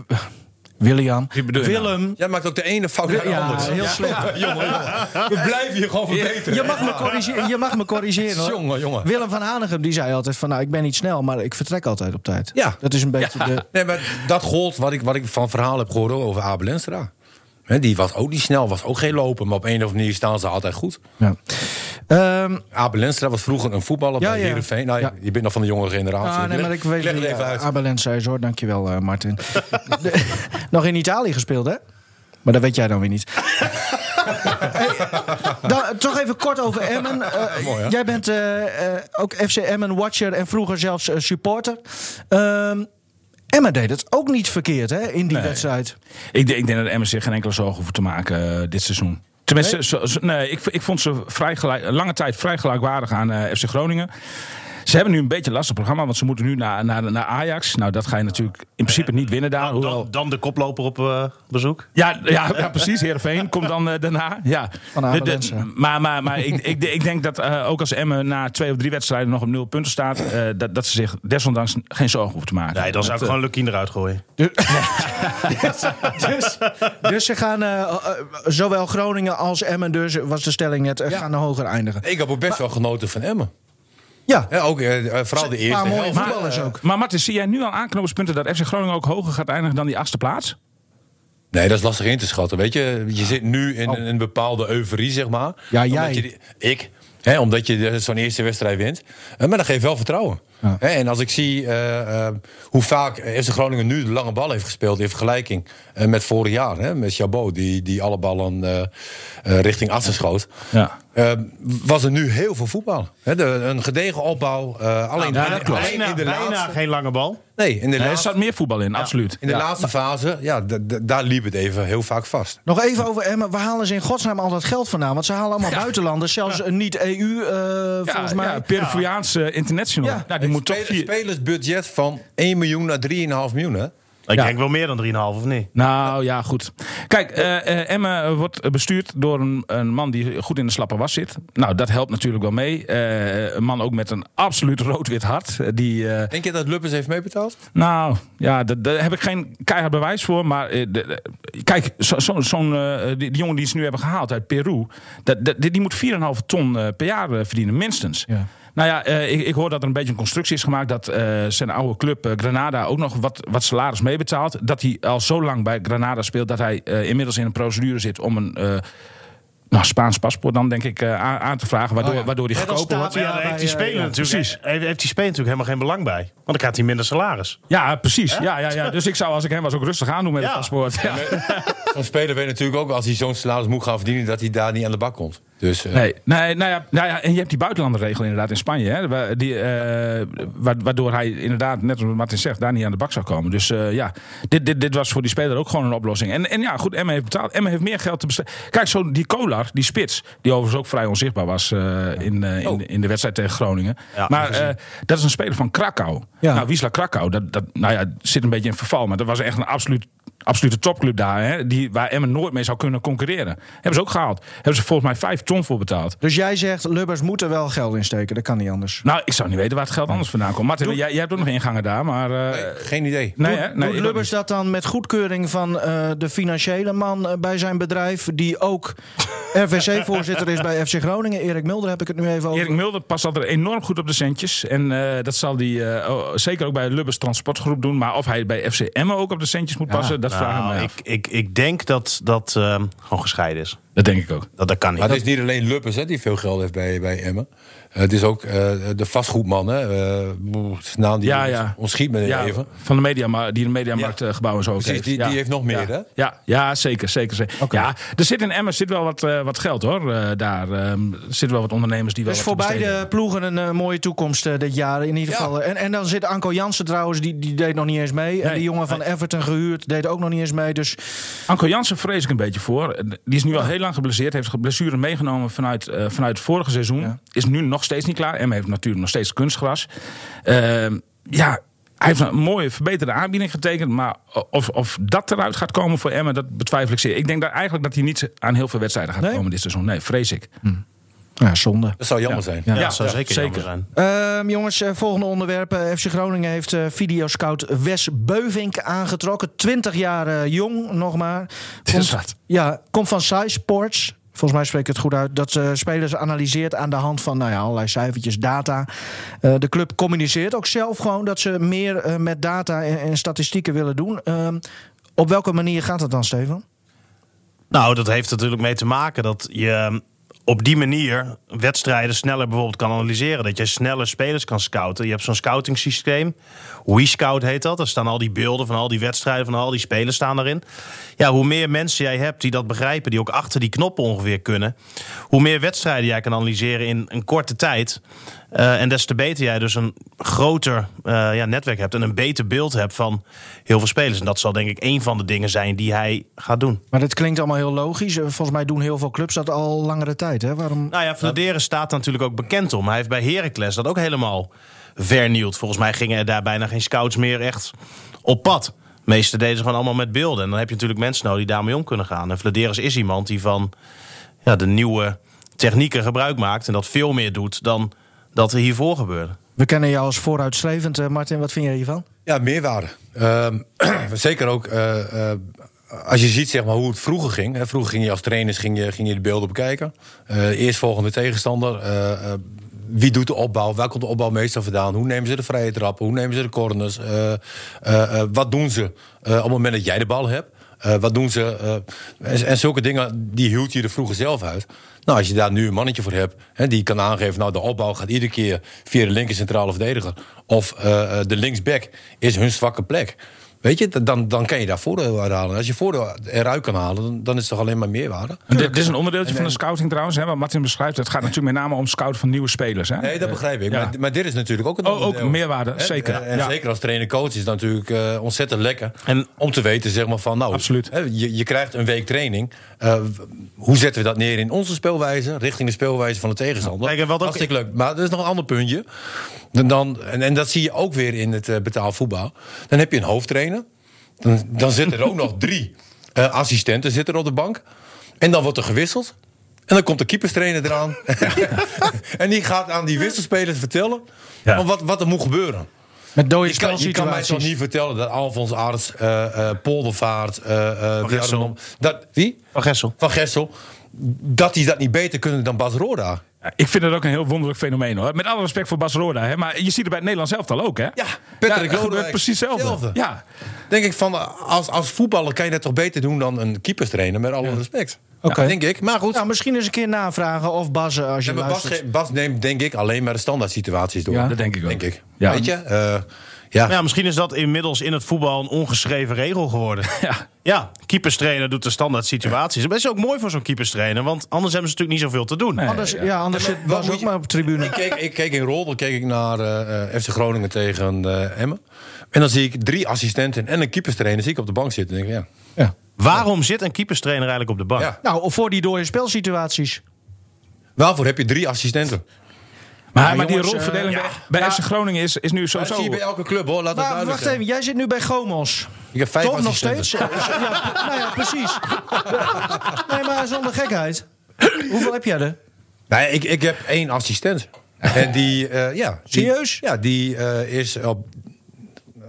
William.
Wie bedoel je nou?
Willem.
Jij maakt ook de ene fout naar de
Ja,
andere.
heel slecht.
We blijven je gewoon verbeteren.
Je mag me corrigeren. Je mag me corrigeren hoor.
Jongen, jongen.
Willem van Hanegem die zei altijd van nou ik ben niet snel, maar ik vertrek altijd op tijd.
Ja.
Dat is een beetje de.
Nee, maar dat gold wat ik, wat ik van verhaal heb gehoord over Abel Enstra. Hè, die was ook niet snel, was ook geen lopen. Maar op een of andere manier staan ze altijd goed.
Ja. Ehm,
Abel Enstra was vroeger een voetballer
Ja,
bij
ja.
Heerenveen. Nou,
Ja.
Je bent nog van de jonge generatie.
ah, nee,
leg-
maar ik weet
leg het
wie,
even
eh,
uit.
Abelens is hoor. Dankjewel eh Martin. De- nog in Italië gespeeld hè? Maar dat weet jij dan weer niet. Hey, dan, eh, toch even kort over Emmen. Eh,
Mooi, hè?
jij bent eh, eh, ook FC Emmen-watcher en vroeger zelfs eh, supporter. Ehm, Emmen deed het ook niet verkeerd hè, in die wedstrijd.
Ik, denk- ik denk dat Emmen zich geen enkele zorgen hoeft te maken eh, dit seizoen. Tenminste, zo- zo- nee, ik, ik vond ze vrij gelijk, lange tijd vrij gelijkwaardig aan eh, FC Groningen. Ze hebben nu een beetje een lastig programma, want ze moeten nu naar, naar, naar Ajax. Nou, dat ga je natuurlijk in principe niet winnen daar.
Nou, Dan,
Hoewel,
dan de koploper op eh, bezoek.
ja, ja, ja, precies. Heerenveen komt dan eh, daarna. Ja.
Van Amelense.
De- de- maar maar, maar ik, ik, ik denk dat eh, ook als Emmen na twee of drie wedstrijden nog op nul punten staat... eh, dat, dat ze zich desondanks geen zorgen hoeven te maken.
Nee, dan zou ik
Dat, eh,
gewoon Lukien eruit gooien.
dus, dus ze gaan, eh, eh, zowel Groningen als Emmen, dus was de stelling net, eh, gaan hoger eindigen.
Ik heb ook best wel genoten van Emmen.
Ja,
Hè, ook, eh, eh, vooral de
een paar
eerste
mooie
helft.
voetballers ook.
Maar Martin, zie jij nu al aanknopingspunten dat FC Groningen ook hoger gaat eindigen dan die achtste plaats?
Nee, dat is lastig in te schatten. Weet je, je zit nu
Oh.
in een bepaalde euforie, zeg maar.
Ja,
Omdat
jij.
je die- ik. Hè, omdat je de- zo'n eerste wedstrijd wint. Eh, Maar dat geeft wel vertrouwen. Hè, en als ik zie eh, eh, hoe vaak FC Groningen nu de lange bal heeft gespeeld... in vergelijking eh, met vorig jaar. Hè, met Chabot, die, die alle ballen eh, eh, richting assen schoot.
Ja.
Eh, was er nu heel veel voetbal. Hè, de- een gedegen opbouw. eh, alleen,
Ja, dat klopt.
alleen
Bijna,
in de
bijna
laatste...
geen lange bal.
Nee, in de
Nee, er
laatste,
staat meer voetbal in, absoluut.
in de
Ja.
laatste fase, ja, d- d- daar liep het even heel vaak vast.
Nog even over Emmen. Waar halen ze in godsnaam al dat geld vandaan? Want ze halen allemaal buitenlanders, zelfs een niet-EU eh, volgens mij.
Ja, Peruviaanse international.
Ja.
Nou, die moet toch
Spelers-
vier...
Spelersbudget van 1 miljoen naar 3,5 miljoen. Hè?
Ik
Ja.
denk wel meer dan 3,5 of niet.
Nou ja, goed. Kijk, eh eh, Emma wordt bestuurd door een, een man die goed in de slappe was zit. Nou, dat helpt natuurlijk wel mee. Eh, een man ook met een absoluut rood-wit hart. eh, Die, eh,
Denk je dat Luppers heeft meebetaald?
nou, ja, daar daar heb ik geen keihard bewijs voor. Maar eh, de- de- kijk, zo- zo'n zo'n, eh, die, die jongen die ze nu hebben gehaald uit Peru... Dat, dat- die die moet 4,5 ton eh, per jaar eh, verdienen, minstens.
Ja.
Nou ja, eh, ik, ik hoor dat er een beetje een constructie is gemaakt dat eh, zijn oude club eh, Granada ook nog wat, wat salaris meebetaalt. Dat hij al zo lang bij Granada speelt dat hij eh, inmiddels in een procedure zit om een eh, nou, Spaans paspoort dan denk ik eh, aan, aan te vragen. Waardoor, waardoor hij
Net als
goedkoper wordt.
Tapia
Ja, daar
bij,
heeft die
eh,
speler
ja.
natuurlijk, heeft, heeft die speler natuurlijk helemaal geen belang bij. Want dan krijgt hij minder salaris.
Ja, precies. Ja, ja, ja. Dus ik zou als ik hem was ook rustig aandoen met
Ja.
het paspoort. Ja.
Zo'n speler weet natuurlijk ook als hij zo'n salaris moet gaan verdienen, dat hij daar niet aan de bak komt. Dus eh,
Nee, nee nou, ja, nou ja, en je hebt die buitenlanderregel inderdaad in Spanje. Hè, wa- die, eh, wa- waardoor hij inderdaad, net zoals Martin zegt, daar niet aan de bak zou komen. Dus eh, ja, dit, dit, dit was voor die speler ook gewoon een oplossing. En, en ja, goed, Emma heeft betaald. Emma heeft meer geld te besteden. Kijk, zo die Kolar, die spits, die overigens ook vrij onzichtbaar was eh, in, eh, in, in de wedstrijd tegen Groningen.
Ja,
maar eh, dat is een speler van Krakau.
Ja.
Nou, Wisla Krakau, dat, dat nou ja, zit een beetje in verval. Maar dat was echt een absoluut absolute topclub daar, hè, die, waar Emmen nooit mee zou kunnen concurreren. Hebben ze ook gehaald. Hebben ze volgens mij vijf ton voor betaald.
Dus jij zegt, Lubbers moet er wel geld in steken. Dat kan niet anders.
Nou, ik zou niet weten waar het geld anders vandaan komt. Martin, jij, jij hebt ook nog ingangen daar, maar... eh,
eh, geen idee.
nee, hè? nee,
Doet
ik ook
Lubbers
niet.
dat dan met goedkeuring van eh, de financiële man eh, bij zijn bedrijf... die ook RVC-voorzitter is bij FC Groningen. Erik Mulder heb ik het nu even over.
Erik Mulder past altijd enorm goed op de centjes. En eh, dat zal hij eh, oh, zeker ook bij Lubbers Transportgroep doen. Maar of hij bij FC Emmen ook op de centjes moet passen, dat vraag ik
Nou,
me
ik,
af.
ik, ik denk dat dat ehm, gewoon gescheiden is.
Dat denk ik ook.
Dat, dat kan niet.
Maar het is niet alleen Luppers hè, die veel geld heeft bij, bij Emmen. Eh, het is ook eh, de vastgoedman, hè? eh, boe, zijn naam die
Ja,
ons-
ja.
ons schiet me
Ja,
even.
van de media, die de mediamarkt eh, gebouwen zo ook
Precies,
heeft.
die-
ja.
die heeft nog meer,
ja.
hè?
Ja, ja zeker. zeker, zeker. Ja, er zit in Emmen zit wel wat, eh, wat geld hoor. eh, daar Ehm, er zitten wel wat ondernemers die wel
Dus
wat
voor
te besteden
beide ploegen een eh, mooie toekomst eh, dit jaar in ieder
Ja.
geval. En, en dan zit Anko Jansen trouwens, die, die deed nog niet eens mee. en
Nee.
die jongen van Everton gehuurd deed ook nog niet eens mee. Dus
Anko Jansen vrees ik een beetje voor. Die is nu al heel lang geblesseerd. Heeft blessure meegenomen vanuit, eh, vanuit het vorige seizoen. Is nu nog steeds niet klaar. En heeft natuurlijk nog steeds kunstgras. Ehm, ja, hij heeft een mooie verbeterde aanbieding getekend. Maar of, of dat eruit gaat komen voor Emmen, dat betwijfel ik zeer. Ik denk dat eigenlijk dat hij niet aan heel veel wedstrijden gaat
Nee?
komen dit seizoen. Nee, vrees ik.
ja, zonde.
Dat zou jammer zijn.
Ja, dat zou zeker,
zeker.
zeker. zijn.
Ehm, jongens, eh, volgende onderwerp. Eh, FC Groningen heeft eh, videoscout Wes Beuvink aangetrokken. 20 jaar eh, jong, nog maar. Komt, ja, komt van Sci Sports. Volgens mij spreek ik het goed uit. Dat eh, spelers analyseert aan de hand van nou ja, allerlei cijfertjes, data. Eh, de club communiceert ook zelf gewoon dat ze meer eh, met data en, en statistieken willen doen. Ehm, op welke manier gaat dat dan, Steven?
Nou, dat heeft natuurlijk mee te maken dat je ehm, op die manier wedstrijden sneller bijvoorbeeld kan analyseren. Dat je sneller spelers kan scouten. Je hebt zo'n scouting systeem. WeScout heet dat. Daar staan al die beelden van al die wedstrijden, van al die spelers staan daarin. Ja, hoe meer mensen jij hebt die dat begrijpen, die ook achter die knoppen ongeveer kunnen. Hoe meer wedstrijden jij kan analyseren in een korte tijd. eh, en des te beter jij dus een groter eh, ja, netwerk hebt en een beter beeld hebt van heel veel spelers. En dat zal denk ik een van de dingen zijn die hij gaat doen.
Maar dat klinkt allemaal heel logisch. Eh, Volgens mij doen heel veel clubs dat al langere tijd. Hè? Waarom?
Nou ja, Vladeren staat daar natuurlijk ook bekend om. Hij heeft bij Heracles dat ook helemaal vernield. Volgens mij gingen er daar bijna geen scouts meer echt op pad. De meeste deden ze gewoon allemaal met beelden. En dan heb je natuurlijk mensen nodig die daarmee om kunnen gaan. En Vladeres is iemand die van ja, de nieuwe technieken gebruik maakt... en dat veel meer doet dan dat er hiervoor gebeurde.
We kennen jou als vooruitstrevend. eh, Martin, wat vind jij hiervan?
Ja, meerwaarde. Ehm, zeker ook eh, eh, als je ziet zeg maar, hoe het vroeger ging. Hè, vroeger ging je als trainers ging je, ging je de beelden bekijken. Eh eerst volgende tegenstander. eh, eh, wie doet de opbouw? Waar komt de opbouw meestal vandaan? Hoe nemen ze de vrije trappen? Hoe nemen ze de corners? Eh, eh, eh, wat doen ze eh, op het moment dat jij de bal hebt? Eh, wat doen ze? eh, en, en zulke dingen, die hield je er vroeger zelf uit. Nou, als je daar nu een mannetje voor hebt, hè, die kan aangeven... nou, de opbouw gaat iedere keer via de linker centrale verdediger. Of eh, eh, de linksback is hun zwakke plek. Weet je, dan, dan kan je daar voordeel uit halen. Als je voordeel eruit kan halen, dan, dan is het toch alleen maar meerwaarde?
En Dit, dit is een onderdeeltje van de scouting trouwens. Hè, wat Martin beschrijft. Het gaat natuurlijk met name om scouten van nieuwe spelers. Hè?
Nee, dat begrijp ik.
Ja.
Maar, maar dit is natuurlijk ook een
Oh, ook
onderdeel.
meerwaarde,
Hè? Eh,
zeker.
En, en
Ja.
zeker als trainer-coach is het natuurlijk eh, ontzettend lekker.
En-
om te weten, zeg maar, van nou,
Absoluut.
hè, je, je krijgt een week training. Eh, w- hoe zetten we dat neer in onze speelwijze, richting de speelwijze van de tegenstander?
Kijk, en wat ook-
Hartstikke leuk. Maar er is nog een ander puntje. Dan, dan, en, en dat zie je ook weer in het eh, betaalvoetbal. Dan heb je een hoofdtrainer. Dan, dan zitten er ook nog drie eh, assistenten zitten er op de bank. En dan wordt er gewisseld. En dan komt de keeperstrainer eraan. en die gaat aan die wisselspelers vertellen
Ja.
van wat, wat er moet gebeuren.
Met dode
Je kan, je kan mij toch
spelsituaties.
niet vertellen dat Alfons Arts, eh, eh, Poldervaart... eh, eh,
Gessel.
Wijnaldum- dat, wie?
Van Gessel.
Van Gessel. Dat die dat niet beter kunnen dan Bas Roda.
Ja, Ik vind het ook een heel wonderlijk fenomeen hoor. Met alle respect voor Bas Roda. Hè? Maar je ziet het bij het Nederlands elftal ook hè?
Ja,
Ja, het
Patrick
gebeurt
Lodewijk.
precies hetzelfde.
Hetzelfde.
Ja.
Denk ik van, als, als voetballer kan je dat toch beter doen dan een keeperstrainer, met alle respect.
Oké.
Ja, denk ik. Maar goed,
Nou, misschien eens een keer navragen of Bas, eh, als je
Ja, maar Bas,
luistert.
ge- Bas neemt denk ik alleen maar de standaard situaties door.
dat denk ik ook.
Denk ik.
Ja.
Weet je? Eh, ja.
Ja, misschien is dat inmiddels in het voetbal een ongeschreven regel geworden.
Ja.
Ja, keeperstrainer doet de standaard situaties. Maar Dat is ook mooi voor zo'n keeperstrainer, want anders hebben ze natuurlijk niet zoveel te doen.
Anders, ja, anders zit Bas
moet
ook
je-
maar op de tribune.
Ik, keek, ik keek in Rolder keek ik naar eh, eh, FC Groningen tegen eh, Emmen. En dan zie ik drie assistenten en een keeperstrainer zie ik op de bank zitten. En denk ik,
Waarom zit een keeperstrainer eigenlijk op de bank?
Ja.
Nou, voor die dode spelsituaties.
ja. Waarvoor heb je drie assistenten?
Maar,
Ja,
maar
jongens,
die rolverdeling
eh,
bij, bij FC Groningen is, is nu
Dat
sowieso...
zie je bij elke club hoor, laat dat
Maar
duidelijk
wacht
zijn.
even, jij zit nu bij Gomos.
Ik heb vijf
Toch nog
assistenten.
steeds? ja, nou ja, precies. Nee, maar zonder gekheid. Hoeveel heb jij er?
Nee, ik, ik heb één assistent. En die, eh, ja. die-
Serieus?
ja, die eh, is op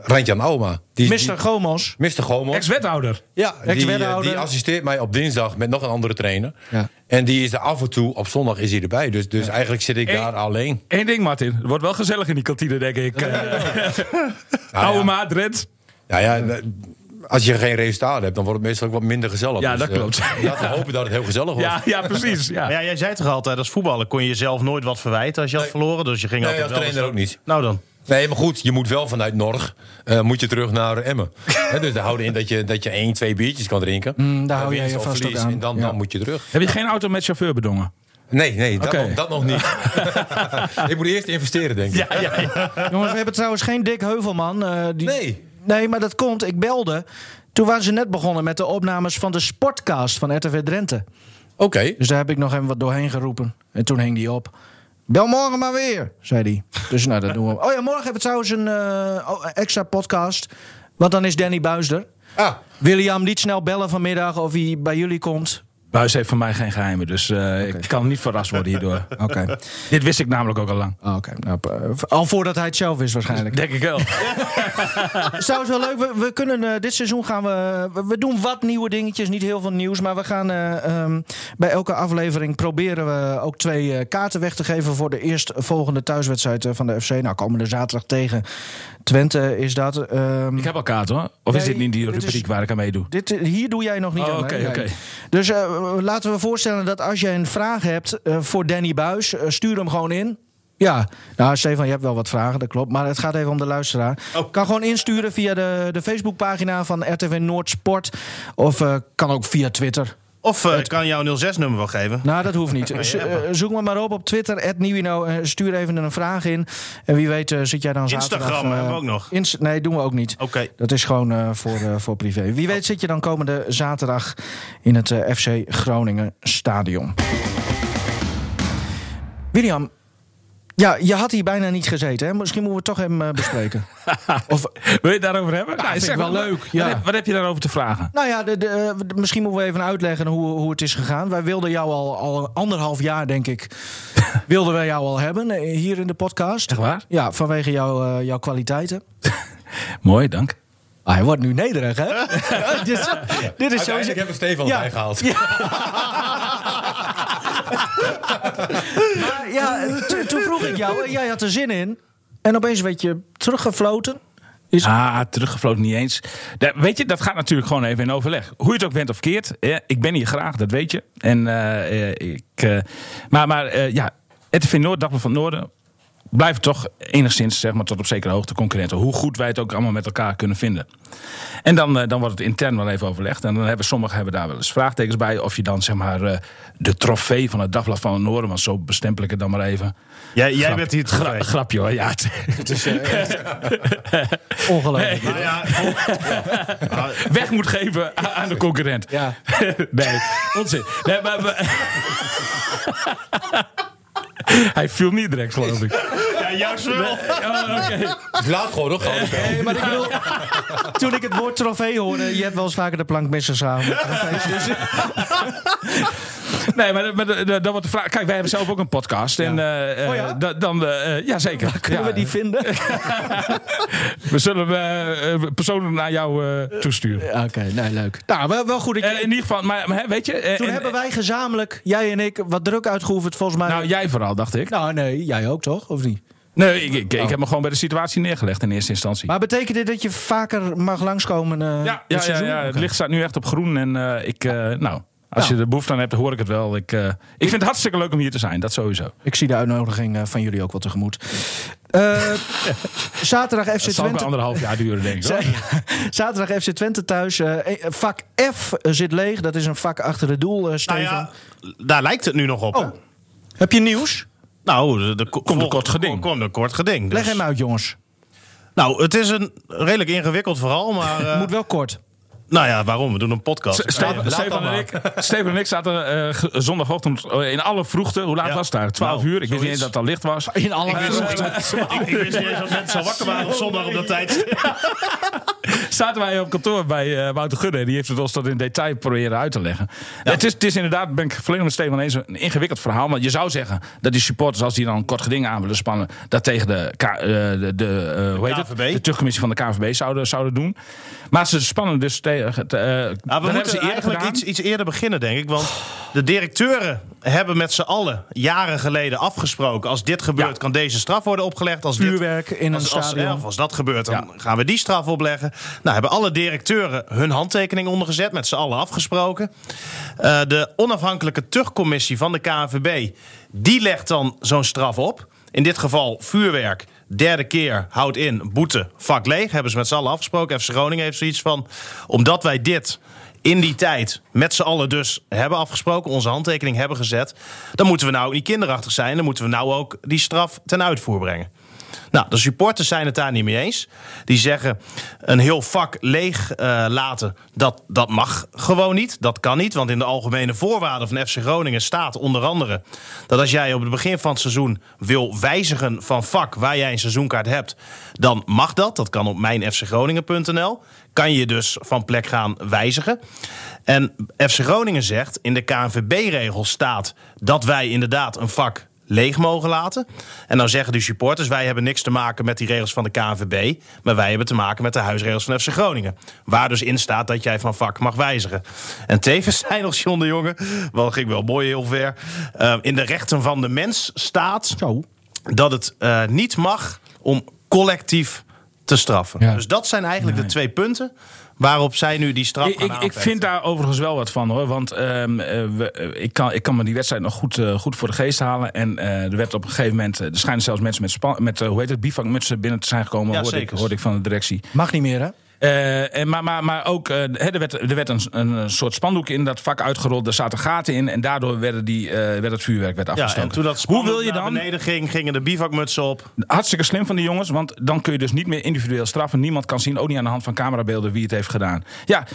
Randje aan Auma. Die, die-
Mr. Gomos.
Mr. Gomo.
Ex-wethouder.
Ja, die, eh,
ex-wethouder.
die assisteert mij op dinsdag met nog een andere trainer.
Ja.
En die is er af en toe, op zondag is hij erbij. Dus, dus eigenlijk zit ik
Hey.
daar alleen.
Eén ding Martin. Het wordt wel gezellig in die kantine denk ik. Eh,
Nou
Oude
ja,
maat, Rens.
nou ja, als je geen resultaten hebt, dan wordt het meestal ook wat minder gezellig.
Ja,
Dus,
dat
eh,
klopt.
Laten we hopen dat het heel gezellig wordt.
Ja, ja precies. Ja.
Maar ja, jij zei toch altijd, als voetballer kon je jezelf nooit wat verwijten als je had
Nee.
verloren. Dus je ging
Nee,
altijd
als
wel
trainer ook niet.
Nou dan.
Nee, maar goed, je moet wel vanuit Norg eh, moet je terug naar Emmen. Hè, dus daar houden in dat je, dat je één, twee biertjes kan drinken.
daar
Eh,
hou jij
winst
je
of
vast
verlies,
ook aan.
En dan,
Ja.
dan moet je terug.
Heb je geen auto met chauffeur bedongen?
Nee, nee, dat,
Oké.
nog, dat nog niet. ik moet eerst investeren, denk ik.
Ja, ja,
Jongens, we hebben trouwens geen Dick Heuvelman. eh, die...
Nee.
Nee, maar dat komt. Ik belde. Toen waren ze net begonnen met de opnames van de Sportcast van RTV Drenthe.
Oké.
Dus daar heb ik nog even wat doorheen geroepen. En toen hing die op. Bel morgen maar weer, zei hij. Dus nou, dat doen we. Oh ja, morgen hebben we trouwens een eh, oh, extra podcast. Want dan is Danny Buis er.
Ah,
William, niet snel bellen vanmiddag of hij bij jullie komt.
Buis heeft voor mij geen geheimen, dus eh, ik kan niet verrast worden hierdoor.
Oké.
Dit wist ik namelijk ook al lang.
Oké, nou, eh, al voordat hij het zelf is waarschijnlijk.
Denk ik wel.
Trouwens wel leuk, we, we kunnen eh, dit seizoen gaan we, we... we doen wat nieuwe dingetjes, niet heel veel nieuws. Maar we gaan eh, ehm, bij elke aflevering proberen we ook twee eh, kaarten weg te geven... voor de eerstvolgende thuiswedstrijd eh, van de FC. Nou, komende zaterdag tegen Twente is dat. ehm,
Ik heb al kaart hoor. Of is
Nee,
dit niet die
dit is-
rubriek waar ik aan meedoe?
dit, eh, hier doe jij nog niet
Oh,
aan. hè?
oké,
Nee.
oké.
Dus eh, laten we voorstellen dat als jij een vraag hebt eh, voor Danny Buis, eh, stuur hem gewoon in. Ja, nou Stefan, je hebt wel wat vragen, dat klopt. Maar het gaat even om de luisteraar.
Oh.
Kan gewoon insturen via de, de Facebookpagina van RTV Noord Sport. Of eh, kan ook via Twitter.
Of eh, ik kan jou 06-nummer wel geven.
Nou, dat hoeft niet. Zo- eh, zoek me maar op op Twitter, @nieuwino. eh, stuur even een vraag in. En wie weet eh, zit jij dan zaterdag...
Instagram
eh,
hebben we ook nog.
Inst- nee, doen we ook niet.
Oké.
Dat is gewoon eh, voor, eh, voor privé. Wie weet zit je dan komende zaterdag in het eh, FC Groningen Stadion. William, ja, je had hier bijna niet gezeten. Hè? Misschien moeten we het toch hem eh, bespreken. of,
Wil je het daarover hebben? Nou,
vind ik wel
maar,
leuk,
Wat,
ja.
heb, wat heb je daarover te vragen?
nou ja, de, de, eh, de- misschien moeten we even uitleggen hoe, hoe het is gegaan. Wij wilden jou al, al anderhalf jaar, denk ik, wilden wij jou al hebben eh, hier in de podcast.
Echt waar?
Ja, vanwege jouw, eh, jouw kwaliteiten.
Mooi, dank.
Ah, hij wordt nu nederig, hè? dit, is- dit is sowieso...
uiteindelijk hebben we Stefan
Ja.
erbij gehaald.
Maar ja, to- toen vroeg ik jou, en jij had er zin in. En opeens werd je teruggefloten. Is,
Ah, teruggevloten niet eens. Da- weet je, dat gaat natuurlijk gewoon even in overleg. Hoe je het ook bent of keert. eh, ik ben hier graag, dat weet je. En, eh, eh, ik, eh, maar maar eh, ja, RTV Noord, Dagblad van het Noorden... blijven toch enigszins, zeg maar, tot op zekere hoogte concurrenten. Hoe goed wij het ook allemaal met elkaar kunnen vinden. En dan, eh, dan wordt het intern wel even overlegd. En dan hebben sommigen hebben daar wel eens vraagtekens bij. Of je dan, zeg maar, eh, de trofee van het Dagblad van het Noorden... want zo bestempel ik het dan maar even.
Jij, jij
Grap-
bent hier het
gra-
trofee.
Grapje hoor, ja. het- eh,
Ongelooflijk.
Nou ja, Nou,
weg moet geven a- aan de concurrent.
Ja.
nee, onzin. Nee, maar, maar- Hij viel niet direct, geloof ik.
ja, jouw spul.
Oh, oké.
Dus laat gewoon nog gewoon.
Nee, maar ik bedoel, toen ik het woord trofee hoorde, je hebt wel eens vaker de plank misgeslagen. met trofees, dus-
Nee, maar, maar de- de- dan wordt de vraag... Kijk, wij hebben zelf ook een podcast. En, eh, eh,
Oh ja?
da- dan, eh, eh, ja, zeker.
Kunnen
Ja.
we die vinden?
We zullen eh, eh, personen naar jou eh, toesturen.
Oké, nee, leuk. Nou, wel, wel goed. dat je-
Eh, in ieder geval, maar, maar hè, weet je... eh,
toen
en-
hebben wij gezamenlijk, jij en ik, wat druk uitgeoefend volgens mij.
Nou, jij vooral, dacht ik.
Nou, nee, jij ook toch? Of niet?
Nee, ik, ik,
Oh.
ik heb me gewoon bij de situatie neergelegd in eerste instantie.
Maar betekent dit dat je vaker mag langskomen? eh,
Ja,
dit
ja, ja,
seizoen?
ja. het
Oké.
licht staat nu echt op groen. En eh, ik, eh, nou, als
Nou.
je er behoefte aan hebt, hoor ik het wel. Ik, eh, ik vind het hartstikke leuk om hier te zijn, dat sowieso.
Ik zie de uitnodiging eh, van jullie ook wel tegemoet. Eh, zaterdag FC
Het zal ook wel
Twente.
anderhalf jaar duren, denk ik. hoor.
Zaterdag FC Twente thuis. eh, eh, vak F zit leeg. Dat is een vak achter het doel, eh,
Nou
Steven.
ja, daar lijkt het nu nog op. hè?
Heb je nieuws?
Nou, de, de, komt
een kort geding.
Komt een kort geding. dus-
Leg hem uit, jongens.
Nou, het is een redelijk ingewikkeld verhaal, maar... eh,
Moet wel kort.
Nou ja, waarom? We doen een podcast.
S- Steven-
Laat
Steven
dan
en
maar.
ik- Steven en ik zaten eh, ge- zondagochtend eh, in alle vroegte. Hoe laat
Ja.
was het daar? 12
Nou,
uur. Ik wist niet
zoiets.
eens dat het al licht was.
In alle
Eh,
Ik, ik wist niet eens dat mensen al wakker waren op zondag op dat tijd.
zaten wij op kantoor bij eh, Wouter Gudde. Die heeft het ons dat in detail proberen uit te leggen. Het, is, het is inderdaad, ben ik volledig met Steven eens, een ingewikkeld verhaal. Maar je zou zeggen dat die supporters, als die dan een kort geding aan willen spannen... dat tegen de, K- eh, de, de, eh, hoe heet het?
KNVB.
de terugcommissie van de KNVB zouden, zouden doen. Maar ze spannen dus tegen... te- eh,
Maar
dat
Nou, we
hebben
moeten
ze eerder
eigenlijk
gedaan.
iets, iets eerder beginnen, denk ik. Want de directeuren hebben met z'n allen jaren geleden afgesproken... als dit gebeurt,
Ja.
kan deze straf worden opgelegd. Als dit,
Vuurwerk in een
als, als,
stadion.
ja, of als dat gebeurt, dan gaan we die straf opleggen. Nou, hebben alle directeuren hun handtekening ondergezet, met z'n allen afgesproken. Eh, de onafhankelijke tuchtcommissie van de KNVB, die legt dan zo'n straf op. In dit geval vuurwerk. Derde keer, houd in, boete, vak leeg. Hebben ze met z'n allen afgesproken. FC Groningen heeft zoiets van, omdat wij dit in die tijd met z'n allen dus hebben afgesproken, onze handtekening hebben gezet, dan moeten we nou ook niet kinderachtig zijn, dan moeten we nou ook die straf ten uitvoer brengen. Nou, de supporters zijn het daar niet mee eens. Die zeggen een heel vak leeg eh, laten, dat, dat mag gewoon niet. Dat kan niet, want in de algemene voorwaarden van FC Groningen staat onder andere... dat als jij op het begin van het seizoen wil wijzigen van vak waar jij een seizoenkaart hebt... dan mag dat, dat kan op mijnfcgroningen.nl. Kan je dus van plek gaan wijzigen. En FC Groningen zegt, in de KNVB-regels staat dat wij inderdaad een vak leeg mogen laten. En dan zeggen de supporters: wij hebben niks te maken met die regels van de KNVB, maar wij hebben te maken met de huisregels van FC Groningen. Waar dus in staat dat jij van vak mag wijzigen. En tevens zijn nog John de Jonge, wel ging wel mooi heel ver. eh, in de rechten van de mens staat dat het eh, niet mag om collectief te straffen.
Ja.
Dus dat zijn eigenlijk de twee punten waarop zij nu die straf
Ik,
gaan
ik, ik
aanvechten.
vind daar overigens wel wat van hoor. Want ehm, eh, we- eh, ik, kan, ik kan me die wedstrijd nog goed, eh, goed voor de geest halen. En eh, er werd op een gegeven moment. eh, Er schijnen zelfs mensen met, span, met eh, hoe heet het, bivakmutsen binnen te zijn gekomen.
Ja,
hoorde, ik,
zeker.
hoorde ik van de directie.
Mag niet meer, hè?
Eh, en, maar, maar, maar ook, eh, hè, er werd, er werd een, een soort spandoek in dat vak uitgerold. Daar zaten gaten in. En daardoor werden die, eh, werd het vuurwerk werd
Ja,
afgestoken.
en toen dat
Hoe wil je
naar
dan?
beneden ging, gingen de bivakmutsen op.
Hartstikke slim van die jongens, want dan kun je dus niet meer individueel straffen. Niemand kan zien, ook niet aan de hand van camerabeelden, wie het heeft gedaan. Ja,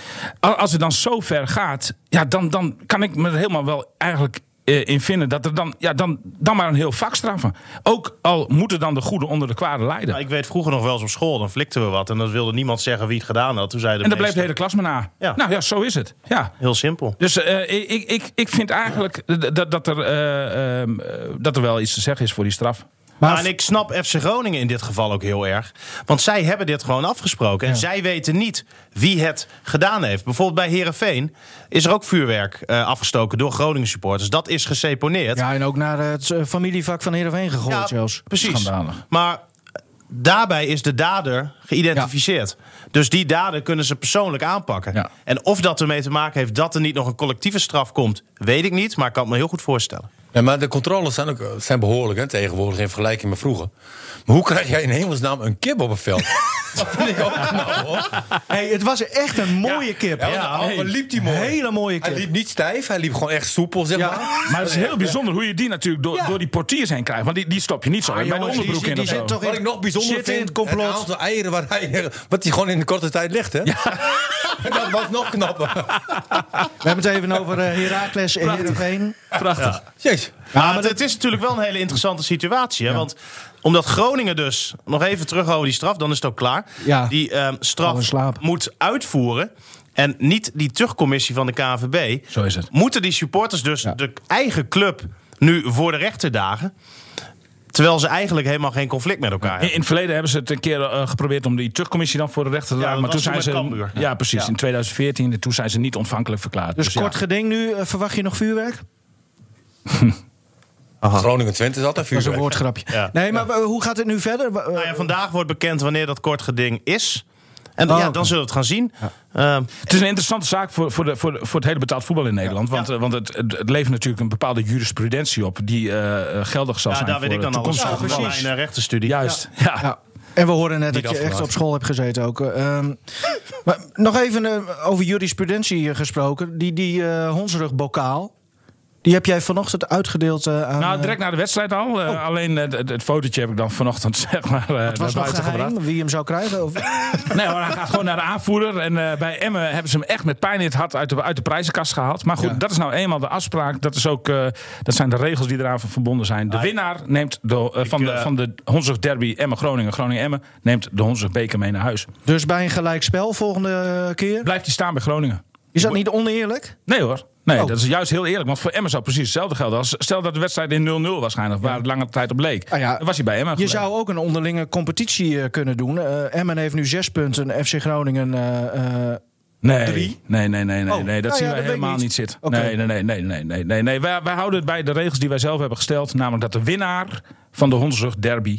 a- als het dan zo ver gaat, ja, dan, dan kan ik me er helemaal wel eigenlijk eh, in vinden dat er dan, ja, dan, dan maar een heel vak straffen. Ook al moeten dan de goede onder de kwade lijden.
Ja, ik weet vroeger nog wel eens op school, dan flikten we wat. En dan wilde niemand zeggen wie het gedaan had. Toen zeiden
en dan
meester,
blijft de hele klas maar na.
Ja.
Nou ja, zo is het. Ja.
Heel simpel.
Dus eh, ik, ik, ik vind eigenlijk d- dat, dat, er, eh, ehm, eh, dat er wel iets te zeggen is voor die straf.
Maar en ik snap FC Groningen in dit geval ook heel erg. Want zij hebben dit gewoon afgesproken. En zij weten niet wie het gedaan heeft. Bijvoorbeeld bij Herenveen is er ook vuurwerk eh, afgestoken door Groningen supporters. Dat is geseponeerd.
Ja, en ook naar het eh, familievak van Heerenveen gegooid
Ja,
zelfs.
Precies.
Schandalig.
Maar daarbij is de dader geïdentificeerd. Dus die dader kunnen ze persoonlijk aanpakken.
Ja.
En of dat ermee te maken heeft dat er niet nog een collectieve straf komt, weet ik niet. Maar ik kan het me heel goed voorstellen.
Ja, maar de controles zijn, ook, eh, zijn behoorlijk hè, tegenwoordig in vergelijking met vroeger. Maar hoe krijg jij in hemelsnaam een kip op het veld? dat vind ik ook knap hoor.
Hey, het was echt een mooie kip.
Ja, want, oh, wat liep die mooi.
Hele mooie
Hij
kip.
liep niet stijf, hij liep gewoon echt soepel zeg
Ja.
maar.
Maar het is heel bijzonder hoe je die natuurlijk door, door die portiers heen krijgt. Want die, die stop je niet zo
Ah,
bij de
jongens, die
onderbroek
zit-
in
die
of
zit
zo.
toch-
Wat ik nog bijzonder
Zit in
vind,
het complot.
het aantal eieren waar hij, wat hij gewoon in de korte tijd legt. Hè? dat was nog knapper.
We hebben het even over eh, Heracles en Heerenveen. Dus
Prachtig.
Jezus.
Ja, maar het is natuurlijk wel een hele interessante situatie. Hè? Want omdat Groningen dus, nog even terug over die straf, dan is het ook klaar.
Ja.
Die ehm,
Val in
straf
slaap.
moet uitvoeren. En niet die terugcommissie van de KNVB.
Zo is het.
Moeten die supporters dus de eigen club nu voor de rechter dagen. Terwijl ze eigenlijk helemaal geen conflict met elkaar
In,
hebben.
in het verleden hebben ze het een keer eh, geprobeerd om die terugcommissie dan voor de rechter te
Ja,
laten. maar toen
dat
zijn
was
ze.
toen met Cambuur.
Ja, precies. In 2014. Toen zijn ze niet ontvankelijk verklaard.
Dus
ja.
kort geding nu. eh, verwacht je nog vuurwerk?
Groningen Twente is altijd
Dat is
vuurwerk.
een woordgrapje.
Ja.
Nee, maar eh, hoe gaat het nu verder? Wa- eh,
Nou ja, vandaag wordt bekend wanneer dat kort geding is. En
Oh,
ja,
oké.
dan zullen we het gaan zien. Ehm,
Het is een interessante zaak voor, voor, de, voor, de- voor het hele betaald voetbal in Nederland. Want, eh, want het, het het levert natuurlijk een bepaalde jurisprudentie op. die eh, eh, geldig zal
ja,
zijn.
daar weet
voor
ik dan al
toekomstige
van van
gevallen.
mijn eh, rechtenstudie.
Juist. Ja.
Ah, Ja. En we horen net
Niet
dat je echt
afgemaakt.
op school hebt gezeten ook. eh, ehm. maar nog even eh, over jurisprudentie eh, gesproken. Die, die eh hondsrugbokaal, die heb jij vanochtend uitgedeeld eh, aan...
Nou,
eh,
direct na de wedstrijd al. Eh, Alleen eh, het, het fotootje heb ik dan vanochtend zeg maar,
het
eh, naar
was nog
buiten
geheim
gebracht.
wie hem zou krijgen? Of...
Nee, maar hij gaat gewoon naar de aanvoerder. En eh, bij Emmen hebben ze hem echt met pijn in het hart uit de, uit de prijzenkast gehaald. Maar goed, dat is nou eenmaal de afspraak. Dat, is ook, eh, dat zijn de regels die eraan verbonden zijn.
Nou,
De winnaar neemt de, eh, van,
Ik,
de,
eh,
van de Honzig Derby Emmen-Groningen, Groningen-Emmen... neemt de Honzig Beker mee naar huis.
dus bij een gelijkspel volgende eh, keer?
Blijft hij staan bij Groningen?
Is dat niet oneerlijk?
Nee hoor. Nee,
Oh.
dat is juist heel eerlijk. Want voor Emmen zou precies hetzelfde gelden. Als, stel dat de wedstrijd in 0-0 waarschijnlijk, waar het lange tijd op leek.
Ah ja,
dan was hij bij Emmen.
Je
gebleven.
zou ook een onderlinge competitie eh, kunnen doen. Eh, Emmen heeft nu zes punten, FC Groningen... eh, eh,
Nee,
Drie?
nee, nee, nee, nee,
Oh,
nee. dat
nou ja, dat
zien wij
weet ik
helemaal
niet.
niet, zitten.
Oké.
Nee, nee, nee, nee, nee, nee, nee, nee. Wij, wij houden het bij de regels die wij zelf hebben gesteld, namelijk dat de winnaar van de hondsrug derby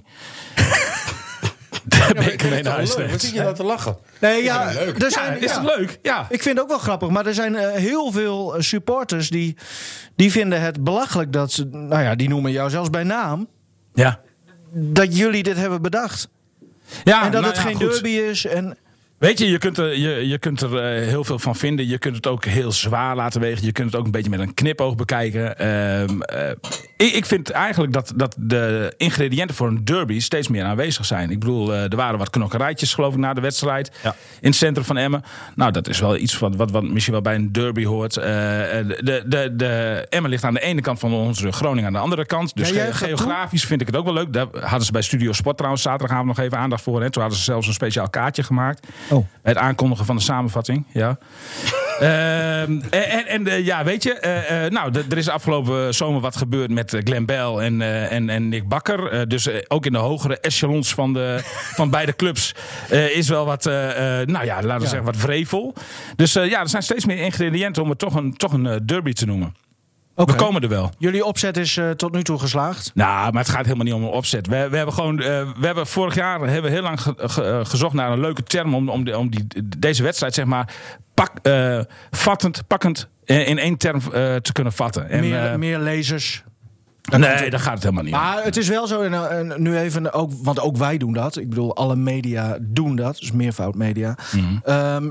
Daar ben ik
vind
mee
het
naar
toch
huis.
leuk? Wat zit je nou te lachen?
Nee, ja,
het leuk?
Er
Ja,
zijn,
is
ja.
het leuk? Ja.
Ik vind het ook wel grappig, maar er zijn eh, heel veel eh, supporters die, die vinden het belachelijk dat ze, nou ja, die noemen jou zelfs bij naam,
Ja.
dat jullie dit hebben bedacht.
Ja,
en dat
nou
het
ja,
geen
goed.
derby is. En,
Weet je, je kunt er, je, je kunt er eh, heel veel van vinden. Je kunt het ook heel zwaar laten wegen. Je kunt het ook een beetje met een knipoog bekijken. Ehm, eh, ik, ik vind eigenlijk dat, dat de ingrediënten voor een derby steeds meer aanwezig zijn. Ik bedoel, eh, er waren wat knokkerijtjes geloof ik na de wedstrijd.
Ja.
In het centrum van Emmen. Nou, dat is wel iets wat, wat, wat misschien wel bij een derby hoort. Eh, de, de, de, de- Emmen ligt aan de ene kant van onze rug. Groningen aan de andere kant. Dus
Ja, jij
ge-
gaat toe?
geografisch vind ik het ook wel leuk. Daar hadden ze bij Studio Sport trouwens zaterdagavond nog even aandacht voor. Hè. Toen hadden ze zelfs een speciaal kaartje gemaakt.
Oh.
Het aankondigen van de samenvatting, ja. Ehm, en en, en, eh, ja, weet je, eh, eh, nou, d- er is afgelopen zomer wat gebeurd met eh, Glenn Bell en, eh, en, en Nick Bakker. Eh, dus eh, ook in de hogere echelons van, de, van beide clubs eh, is wel wat, eh, eh, nou ja, laten we zeggen, wat vrevel. Dus eh, ja, er zijn steeds meer ingrediënten om het toch een, toch een eh, derby te noemen.
Oké.
We komen er wel.
Jullie opzet is eh, tot nu toe geslaagd.
Nou, maar het gaat helemaal niet om een opzet. We, we hebben gewoon, eh, we hebben vorig jaar hebben we heel lang ge- ge- eh, gezocht naar een leuke term om, om, de- om die, deze wedstrijd, zeg maar, pak, eh, vattend, pakkend eh, in één term eh, te kunnen vatten. En,
meer,
eh,
meer lezers.
nee, daar gaat het helemaal niet om.
Maar het is wel zo, en, eh, en nu even, ook, want ook wij doen dat. Ik bedoel, alle media doen dat. Dus meervoud media.
Mhm.
Ehm,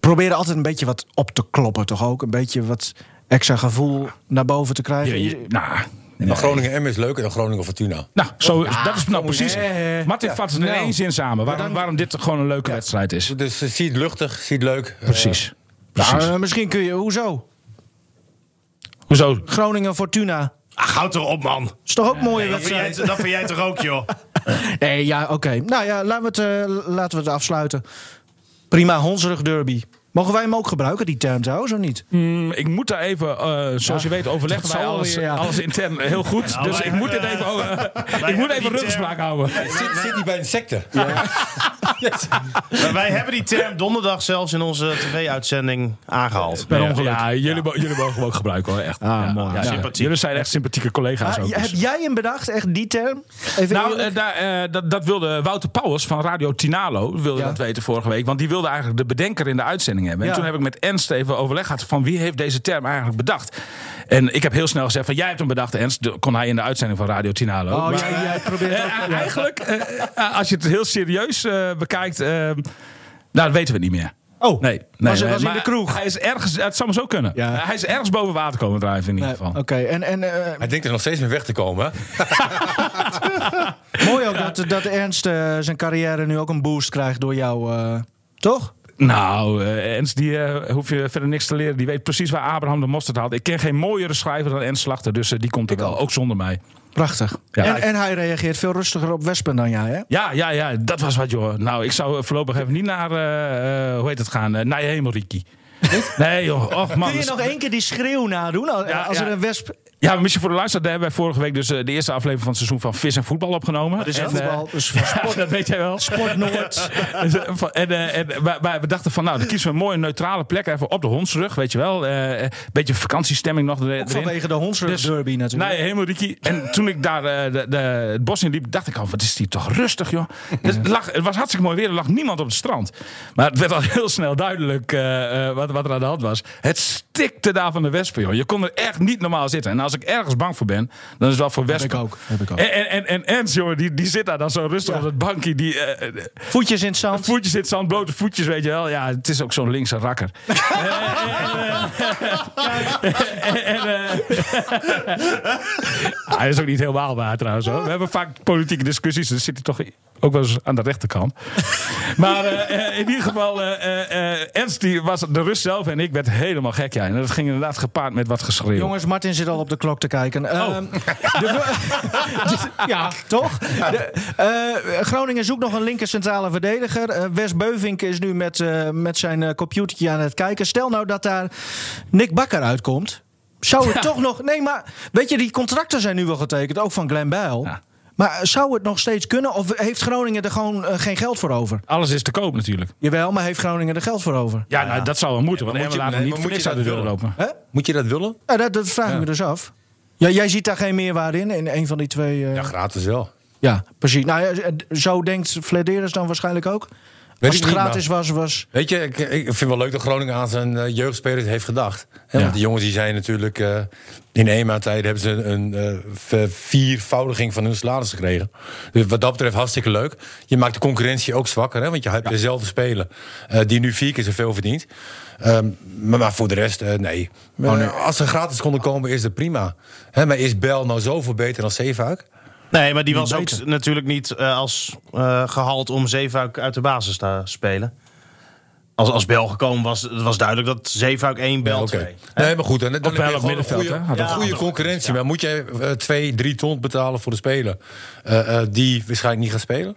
proberen altijd een beetje wat op te kloppen, toch ook? Een beetje wat extra gevoel naar boven te krijgen.
Je- je- nou, nee.
Maar Groningen M is leuker dan Groningen Fortuna.
nou, zo, dat is nou precies.
eh, eh,
Martin vat het in
Nou,
één zin samen. Waarom, waarom dit gewoon een leuke wedstrijd is.
Dus eh, zie het luchtig, zie het leuk.
Precies.
Nou,
Precies.
eh, misschien kun je, hoezo?
Hoezo?
Groningen Fortuna.
Ach, Ah, houd erop, man.
Is toch ook mooie
Dat vind, jij,
wedstrijd?
dat vind jij toch ook, joh?
Nee, ja, oké. Nou ja, laten we, het, eh, laten we het afsluiten. Prima, hondsrug derby. Mogen wij hem ook gebruiken, die term trouwens, of niet?
Mm, Ik moet daar even, eh, zoals je weet, overleggen
dat
wij
zal
alles,
weer, ja.
alles intern heel goed.
Nou,
dus
wij
ik moet dit
hebben,
even, oh, eh, ik
hebben
moet
die
even
term-
ruggespraak houden.
Eh, Zit, zit hij bij een secte?
Maar wij hebben die term donderdag zelfs in onze tv-uitzending aangehaald.
Per ongeluk. Ja, jullie, mo- jullie mogen hem ook gebruiken hoor, echt. ja, ja, ja.
Sympathiek.
Jullie zijn echt sympathieke collega's
Ah,
ook.
j-
dus.
heb jij hem bedacht, echt die term? Even
Nou,
eerlijk?
eh, daar, eh, dat, dat wilde Wouter Pauwers van Radio Tinalo wilde
Ja.
dat weten vorige week. Want die wilde eigenlijk de bedenker in de uitzending hebben. En
Ja.
toen heb ik met Ernst even overleg gehad van wie heeft deze term eigenlijk bedacht. En ik heb heel snel gezegd van jij hebt hem bedacht Ernst. De- Kon hij in de uitzending van Radio Tinalo.
oh,
Maar-
jij, jij probeert
Eh,
ook-
eh,
ja.
eigenlijk, eh, eh, als je het heel serieus eh, bekijkt, eh, nou, dat weten we niet meer.
Oh,
Nee, nee
was er
nee,
was in
maar
de kroeg.
Hij is ergens, het zou maar zo kunnen.
Ja.
Eh, Hij is ergens boven water komen drijven in ieder
Nee,
geval.
Oké, en, en eh,
Hij denkt er nog steeds mee weg te komen. hè?
mooi ook dat, dat Ernst eh, zijn carrière nu ook een boost krijgt door jou, eh, toch?
Nou, eh, Ernst, die eh, hoef je verder niks te leren. Die weet precies waar Abraham de mosterd haalt. Ik ken geen mooiere schrijver dan Ernst Slachter, dus eh, die komt er wel. Ook zonder mij.
Prachtig.
Ja.
en, en hij reageert veel rustiger op wespen dan jij, hè?
Ja, ja, ja, dat was wat, joh. Nou, ik zou eh, voorlopig even niet naar, eh, eh, hoe heet het gaan, eh, naar je hemel, Ricky. Nee, joh. Och, man.
Kun je
dat-
nog één keer die schreeuw nadoen als,
Ja,
als
ja. Eh,
er een wesp...
Ja, maar misschien voor de luisteraar, daar hebben wij vorige week dus eh, de eerste aflevering van het seizoen van Vis en Voetbal opgenomen.
Dat is
En,
het
eh,
voetbal, dus van
ja, dat weet jij wel.
Sport Noord.
Dus, eh, van- en, eh, en wij- wij- we dachten van, nou, dan kiezen we een mooie neutrale plek even op de hondsrug, weet je wel. Eh, Een beetje vakantiestemming nog er- erin.
Vanwege de hondsrug
Dus-
derby natuurlijk.
Nee, helemaal Ricky. En toen ik daar eh, de, de, het bos in liep, dacht ik al, wat is hier toch rustig, joh. Dus het, lag, het was hartstikke mooi weer, er lag niemand op het strand. Maar het werd al heel snel duidelijk eh, eh, wat, wat er aan de hand was. Het stikte daar van de wespen, joh. Je kon er echt niet normaal zitten. En als ik ergens bang voor ben, dan is het wel voor wespen.
ik ook, heb ik ook.
En, en, en, en Ernst, jongen, die, die zit daar dan zo rustig op dat bankje. Die, eh, eh,
Voetjes in het zand.
Voetjes in het zand, blote voetjes, weet je wel. Ja, het is ook zo'n linkse rakker. Eh, en, eh, en, eh, Ah, Hij is ook niet helemaal waar trouwens. Hoor. We hebben vaak politieke discussies, dus zit hij toch ook wel eens aan de rechterkant. Maar eh, eh, in ieder geval, eh, eh, eh, Ernst, die was de rust zelf en ik werd helemaal gek. Ja. En dat ging inderdaad gepaard met wat geschreeuw.
Jongens, Martin zit al op de klok te kijken.
Oh.
Ehm, de- ja, toch? De- eh, Groningen zoekt nog een linker centrale verdediger. Eh, Wes Beuvink is nu met, eh, met zijn eh, computertje aan het kijken. Stel nou dat daar Nick Bakker uitkomt. Zou het toch nog... Nee, maar weet je, die contracten zijn nu wel getekend. Ook van Glenn Bijl.
Ja.
Maar zou het nog steeds kunnen? Of heeft Groningen er gewoon eh, geen geld voor over?
Alles is te koop natuurlijk.
Jawel, maar heeft Groningen er geld voor over?
Ja, nou, dat zou wel moeten, want
maar
Emma
moet je-
laat hem
nee,
niet
maar
voor
moet
niks
je
uit de
dat
deur
willen?
lopen.
Moet je dat willen?
Nou, dat, dat vraag ik me dus af. Ja, jij ziet daar geen meerwaarde in, in een van die twee... eh,
Ja, gratis wel.
Ja, precies. Nou, ja, zo denkt Flederis dan waarschijnlijk ook.
Weet
Als
ik
het
niet,
gratis was, was...
Weet je, ik, ik vind wel leuk dat Groningen aan zijn eh, jeugdspelers heeft gedacht. Hè,
Ja.
Want die jongens die zijn natuurlijk eh, in één maand tijd hebben ze een eh, ver- viervoudiging van hun salaris gekregen. Dus wat dat betreft hartstikke leuk. Je maakt de concurrentie ook zwakker, hè, want je hebt dezelfde speler eh, die nu vier keer zoveel verdient. Ehm, maar, maar voor de rest, eh, nee. Eh, als ze gratis konden komen, is dat prima. Hè, maar is Bel nou zoveel beter dan Zeefuik?
Nee, maar die was ook
beter.
natuurlijk niet eh, als eh, gehaald om Zeefuik uit de basis te spelen. Als, als Bel gekomen was, het was duidelijk dat Zeefuik 1, Bel
Ja,
2.
oké. Nee, maar goed. En, dan heb je
bijna op
gewoon
middenveld,
een
hè?
goede,
Had
een
ook
goede
nog.
concurrentie. Maar moet jij eh, twee, drie ton betalen voor de speler eh, eh, die waarschijnlijk niet gaat spelen?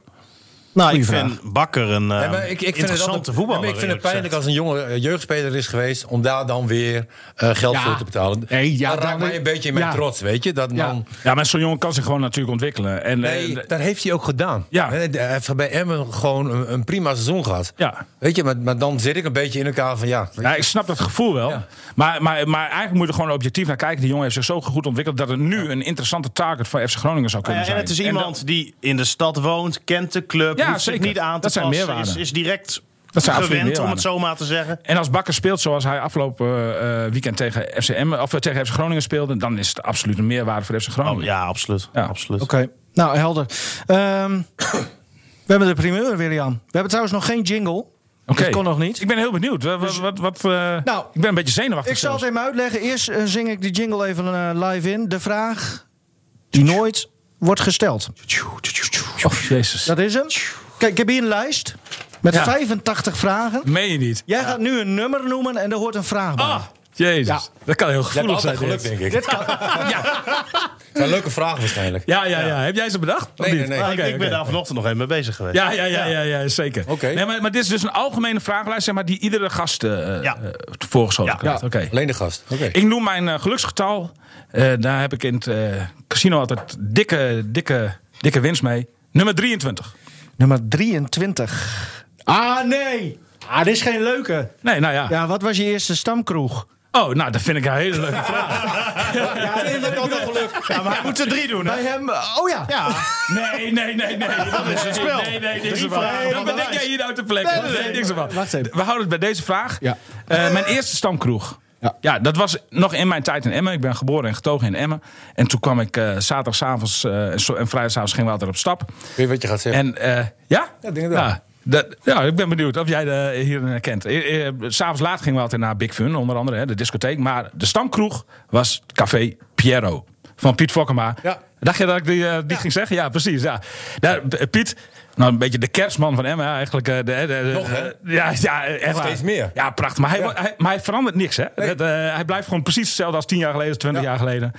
Nou, ik
vraag.
vind Bakker een eh,
Nee, maar ik, ik vind het
interessante
altijd-
voetballer.
Ja, maar ik vind het
eerlijk
pijnlijk
gezegd.
als een jonge eh, jeugdspeler is geweest om daar dan weer eh, geld voor te betalen.
Nee, ja,
dat raakt
dan-
mij een beetje in mijn
ja.
trots, weet je? Dat man,
Ja, maar zo'n jongen kan zich gewoon natuurlijk ontwikkelen. En, eh,
Nee,
d-
dat heeft hij ook gedaan.
Ja.
Hè, Hij heeft bij Emmen gewoon een, een prima seizoen gehad.
Ja.
Weet je, maar, maar dan zit ik een beetje in elkaar van ja.
ja, ik snap dat gevoel wel.
Ja.
Maar, maar, maar eigenlijk moet je er gewoon objectief naar kijken. Die jongen heeft zich zo goed ontwikkeld dat het nu een interessante target van FC Groningen zou kunnen
Ja, en
zijn.
het is
dat-
iemand die in de stad woont, kent de club,
Ja,
hoeft
zeker.
zich niet aan te
Dat zijn
passen,
meerwaarden.
is, is direct
Dat zijn absoluut
gewend, om
meerwaarden.
het zomaar te zeggen.
En als Bakker speelt zoals hij afgelopen eh, eh, weekend tegen FCM of eh, tegen FC Groningen speelde, dan is het absoluut een meerwaarde voor FC Groningen.
Oh, ja, absoluut.
Ja.
absoluut.
Oké, nou helder. Ehm, we hebben de primeur, William. We hebben trouwens nog geen jingle.
Oké.
Dat kon nog niet.
Ik ben heel benieuwd. Wat, wat, wat, wat, eh,
Nou,
ik ben een beetje zenuwachtig.
Ik zal het
zelfs.
even uitleggen. Eerst eh, zing ik die jingle even eh, live in. De vraag die nooit wordt gesteld.
Oh, jezus.
Dat is hem. Kijk, ik heb hier een lijst met
Ja.
85 vragen.
meen je niet.
Jij gaat nu een nummer noemen en daar hoort een vraag bij.
Ah, jezus. Dat kan heel
Je hebt
gevoelig zijn.
altijd geluk,
dit.
denk ik. Dat zijn leuke vragen waarschijnlijk.
Ja, ja, ja. Heb jij ze bedacht? Of
Nee, nee,
niet?
nee.
Nou,
Oké,
ik, ik ben
oké.
daar vanochtend nog even mee bezig geweest.
Ja, ja, ja, ja, ja, zeker.
Oké.
Nee, maar, maar dit is dus een algemene vragenlijst zeg maar, die iedere gast eh
Ja.
eh, voorgeschoten
Ja.
krijgt. Oké.
Alleen de gast. Oké.
Ik noem mijn eh, geluksgetal. Eh, daar heb ik in het eh, casino altijd dikke, dikke, dikke winst mee. Nummer 23.
Nummer 23. Ah, nee. Ah, dit is geen leuke.
Nee, nou ja.
Ja, wat was je eerste stamkroeg?
Oh, nou, dat vind ik een hele leuke vraag.
Ja, maar hij moet er drie doen. Hè?
Bij hem, eh, oh ja.
Nee, nee, nee, nee. Dat is een spel. Nee, nee, niks
Drie
ervan.
vragen
Dan
van de
bedenk jij
lijst.
hier uit de plek.
Nee, nee,
Nee,
nee.
niks ervan.
Wacht even.
We houden het bij deze vraag.
Ja.
Eh, mijn eerste stamkroeg.
Ja.
Ja. dat was nog in mijn tijd in Emmen. Ik ben geboren en getogen in Emmen. En toen kwam ik eh zaterdagavond en, zo- en vrijdagavond gingen we altijd op stap.
Weet je wat je gaat zeggen?
En eh, ja?
Ja, denk het wel.
Nou, dat, ja, ik ben benieuwd of jij de, hier een herkent. Eh, eh, S'avonds laat gingen we altijd naar Big Fun, onder andere, hè, de discotheek. Maar de stamkroeg was Café Piero van Piet Fokkema.
Ja.
Dacht je dat ik die, eh, die ging zeggen? Ja, precies. Ja. Daar, eh, Piet, nou een beetje de kerstman van Emma eigenlijk. eh, De, de, de- eh,
Nog, hè?
Ja, ja echt waar.
steeds meer.
Ja, prachtig. Maar hij, wa- hij, maar hij verandert niks, hè? Dat, eh, hij blijft gewoon precies hetzelfde als tien jaar geleden, twintig jaar geleden.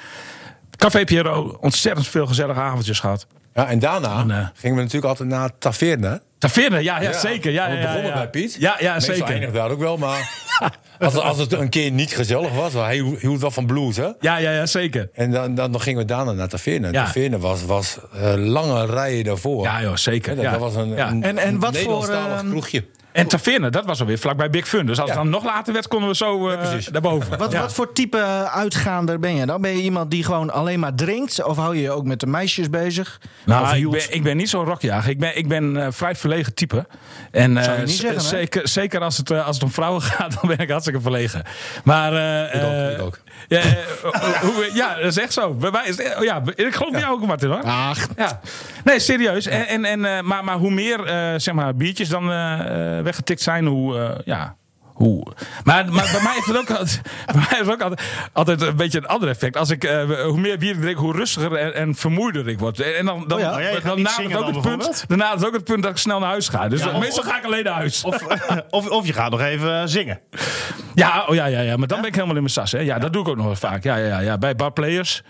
Café Piero, ontzettend veel gezellige avondjes gehad.
Ja, en daarna
Nee.
gingen we natuurlijk altijd naar Taverne.
Taverne, eh, ja, ja, zeker. Ja, ja,
we
ja,
begonnen
ja.
bij Piet.
Ja, ja
Meestal
zeker.
eindigde daar ook wel, maar als, als het een keer niet gezellig was, want hij hield wel van blues, hè?
Ja, ja, ja, zeker.
En dan, dan, dan gingen we daarna naar Taverne.
Ja.
Taverne was, was eh, lange rijen daarvoor.
Ja, joh, zeker.
Hè, dat,
ja.
dat was een,
Ja.
een,
En- en wat voor,
Nederlandstalig
eh,
ehm,
kroegje.
En Taverne, dat was alweer vlakbij Big Fun. Dus als het
Ja.
dan nog later werd, konden we zo eh,
precies.
daarboven.
Wat,
Ja.
wat voor type uitgaander ben je dan? Ben je iemand die gewoon alleen maar drinkt? Of hou je je ook met de meisjes bezig? Of
Nou, ik
hield-
ben, ik ben niet zo'n rockjager. Ik ben, ik ben eh, vrij verlegen type. En eh,
Zou je niet
z-
zeggen, hè?
zeker, zeker als, het, eh, als het om vrouwen gaat, dan ben ik hartstikke verlegen. Maar. eh,
ook,
eh,
ik ook.
Ja, eh, hoe- hoe- ja, dat is echt zo. Bij mij is het- oh ja, ik geloof bij jou ook, Martin hoor.
Ach,
Ja. Nee, serieus. En, en, en, eh, maar, maar hoe meer eh, zeg maar, biertjes dan eh, eh, weggetikt zijn, hoe. eh, ja. Hoe. Maar, maar bij mij heeft het ook, altijd, bij mij heeft het ook altijd, altijd een beetje een ander effect. Als ik, eh, hoe meer bier ik drink, hoe rustiger en, en vermoeider ik word. En dan, dan,
Oh ja.
dan,
Oh ja, je gaat
dan
niet
nadert
zingen
ook
dan
het punt,
bijvoorbeeld?
daarna is ook het punt dat ik snel naar huis ga. Dus
Ja,
eh,
of-
meestal ga ik alleen naar huis.
Of, of, of je gaat nog even eh, zingen.
ja, oh, ja, ja, ja, maar dan ben ik helemaal in mijn sas. Hè. Ja, dat doe ik ook nog wel vaak. Ja, ja, ja, ja. Bij barplayers.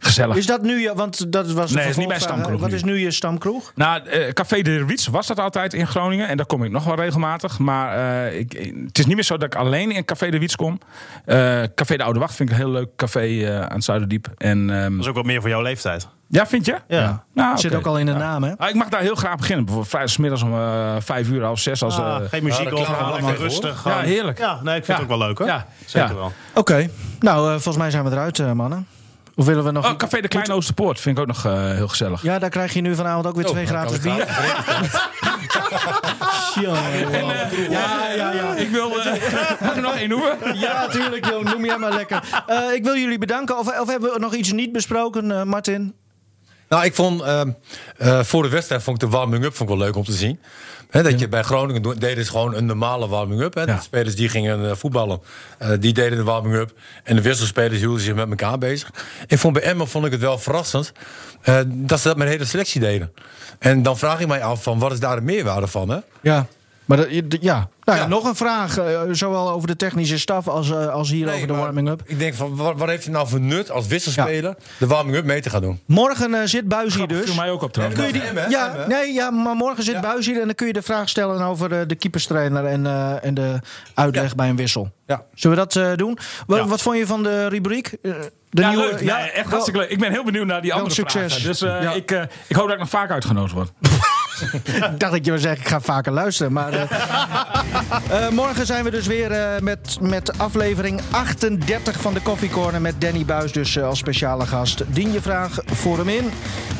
Gezellig.
Is dat nu je, want dat was de
Nee, is niet
vervolgvraag,
mijn
hè?
stamkroeg
Wat
nu.
is nu je stamkroeg?
Nou, eh, Café de Wiets was dat altijd in Groningen. En daar kom ik nog wel regelmatig. Maar eh, ik, eh, het is niet meer zo dat ik alleen in Café de Wiets kom. Eh, café de Oude Wacht vind ik een heel leuk café eh, aan het Zuiderdiep. En, ehm,
Dat is ook wat meer voor jouw leeftijd.
ja, vind je?
Ja.
Nou,
Zit
oké.
ook al in de naam, hè?
Ah, ik mag daar heel graag beginnen. Bijvoorbeeld vrijdagmiddags om eh, vijf uur, half zes. Als, eh,
Ah, geen muziek
dat
op,
klagen we
lekker
allemaal voor.
rustig.
Ja,
gewoon-
heerlijk.
Ja, nee, ik vind
Ja.
het ook wel leuk hoor.
Ja,
Zeker
ja.
wel.
Oké. Nou, eh, volgens mij zijn we eruit, eh, mannen. Of willen we nog...
Oh, Café de Kleine Oosterpoort vind ik ook nog eh, heel gezellig.
Ja, daar krijg je nu vanavond ook weer
Oh,
Nou,
twee gratis bier. Jongen.
ja, ja, ja. Ik wil... eh, mag ik nog één noemen?
Ja, tuurlijk, joh. Noem jij maar lekker. Eh, ik wil jullie bedanken. Of, of hebben we nog iets niet besproken, eh, Martin?
Nou, ik vond ehm, eh, voor de wedstrijd vond ik de warming-up vond ik wel leuk om te zien. Hè, dat je bij Groningen do- deden ze gewoon een normale warming-up. hè.
Ja.
De spelers die gingen eh, voetballen, eh, die deden de warming-up. En de wisselspelers hielden zich met elkaar bezig. Ik vond bij Emmen vond ik het wel verrassend eh, dat ze dat met de hele selectie deden. En dan vraag ik mij af van wat is daar de meerwaarde van? Hè?
Ja. Maar dat, je- d- ja. Nou ja,
Ja.
nog een vraag. eh, zowel over de technische staf als, eh, als hier over de
maar
warming-up.
Ik denk van wat, wat heeft het nou voor nut als wisselspeler de warming-up mee te gaan doen?
Morgen eh, zit Buis hier
Dat
dus.
viel mij ook op trouwens.
Kun je die-
Emmen, hè?
ja,
Emmen.
nee, ja, maar morgen zit Buis hier en dan kun je de vraag stellen over eh, de keeperstrainer en, eh, en de uitleg bij een wissel.
Ja.
Zullen we dat eh, doen? Wa-
Ja.
Wat vond je van de rubriek? Eh, De
Ja,
nieuwe,
leuk. Nee, echt hartstikke leuk. Ik ben heel benieuwd naar die
Wel
andere
succes.
vragen. Dus eh,
Ja.
ik, eh, ik hoop dat ik nog vaak uitgenodigd word.
Ik dacht dat je wil zeggen, ik ga vaker luisteren. Maar, eh, eh, morgen zijn we dus weer eh, met, met aflevering 38 van de Coffee Corner met Danny Buis dus eh, als speciale gast. Dien je vraag voor hem in.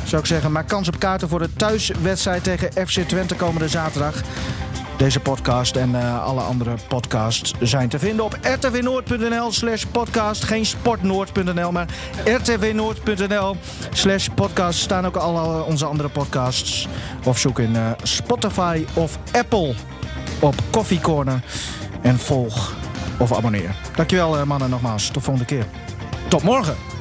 Zou ik zeggen, maak kans op kaarten voor de thuiswedstrijd tegen FC Twente komende zaterdag. Deze podcast en eh, alle andere podcasts zijn te vinden op rtvnoord.nl slash podcast. Geen sportnoord.nl, maar rtvnoord.nl slash podcast staan ook al eh, onze andere podcasts. Of zoek in eh, Spotify of Apple op Coffee Corner. En volg of abonneer. Dankjewel eh, mannen nogmaals. Tot volgende keer. Tot morgen.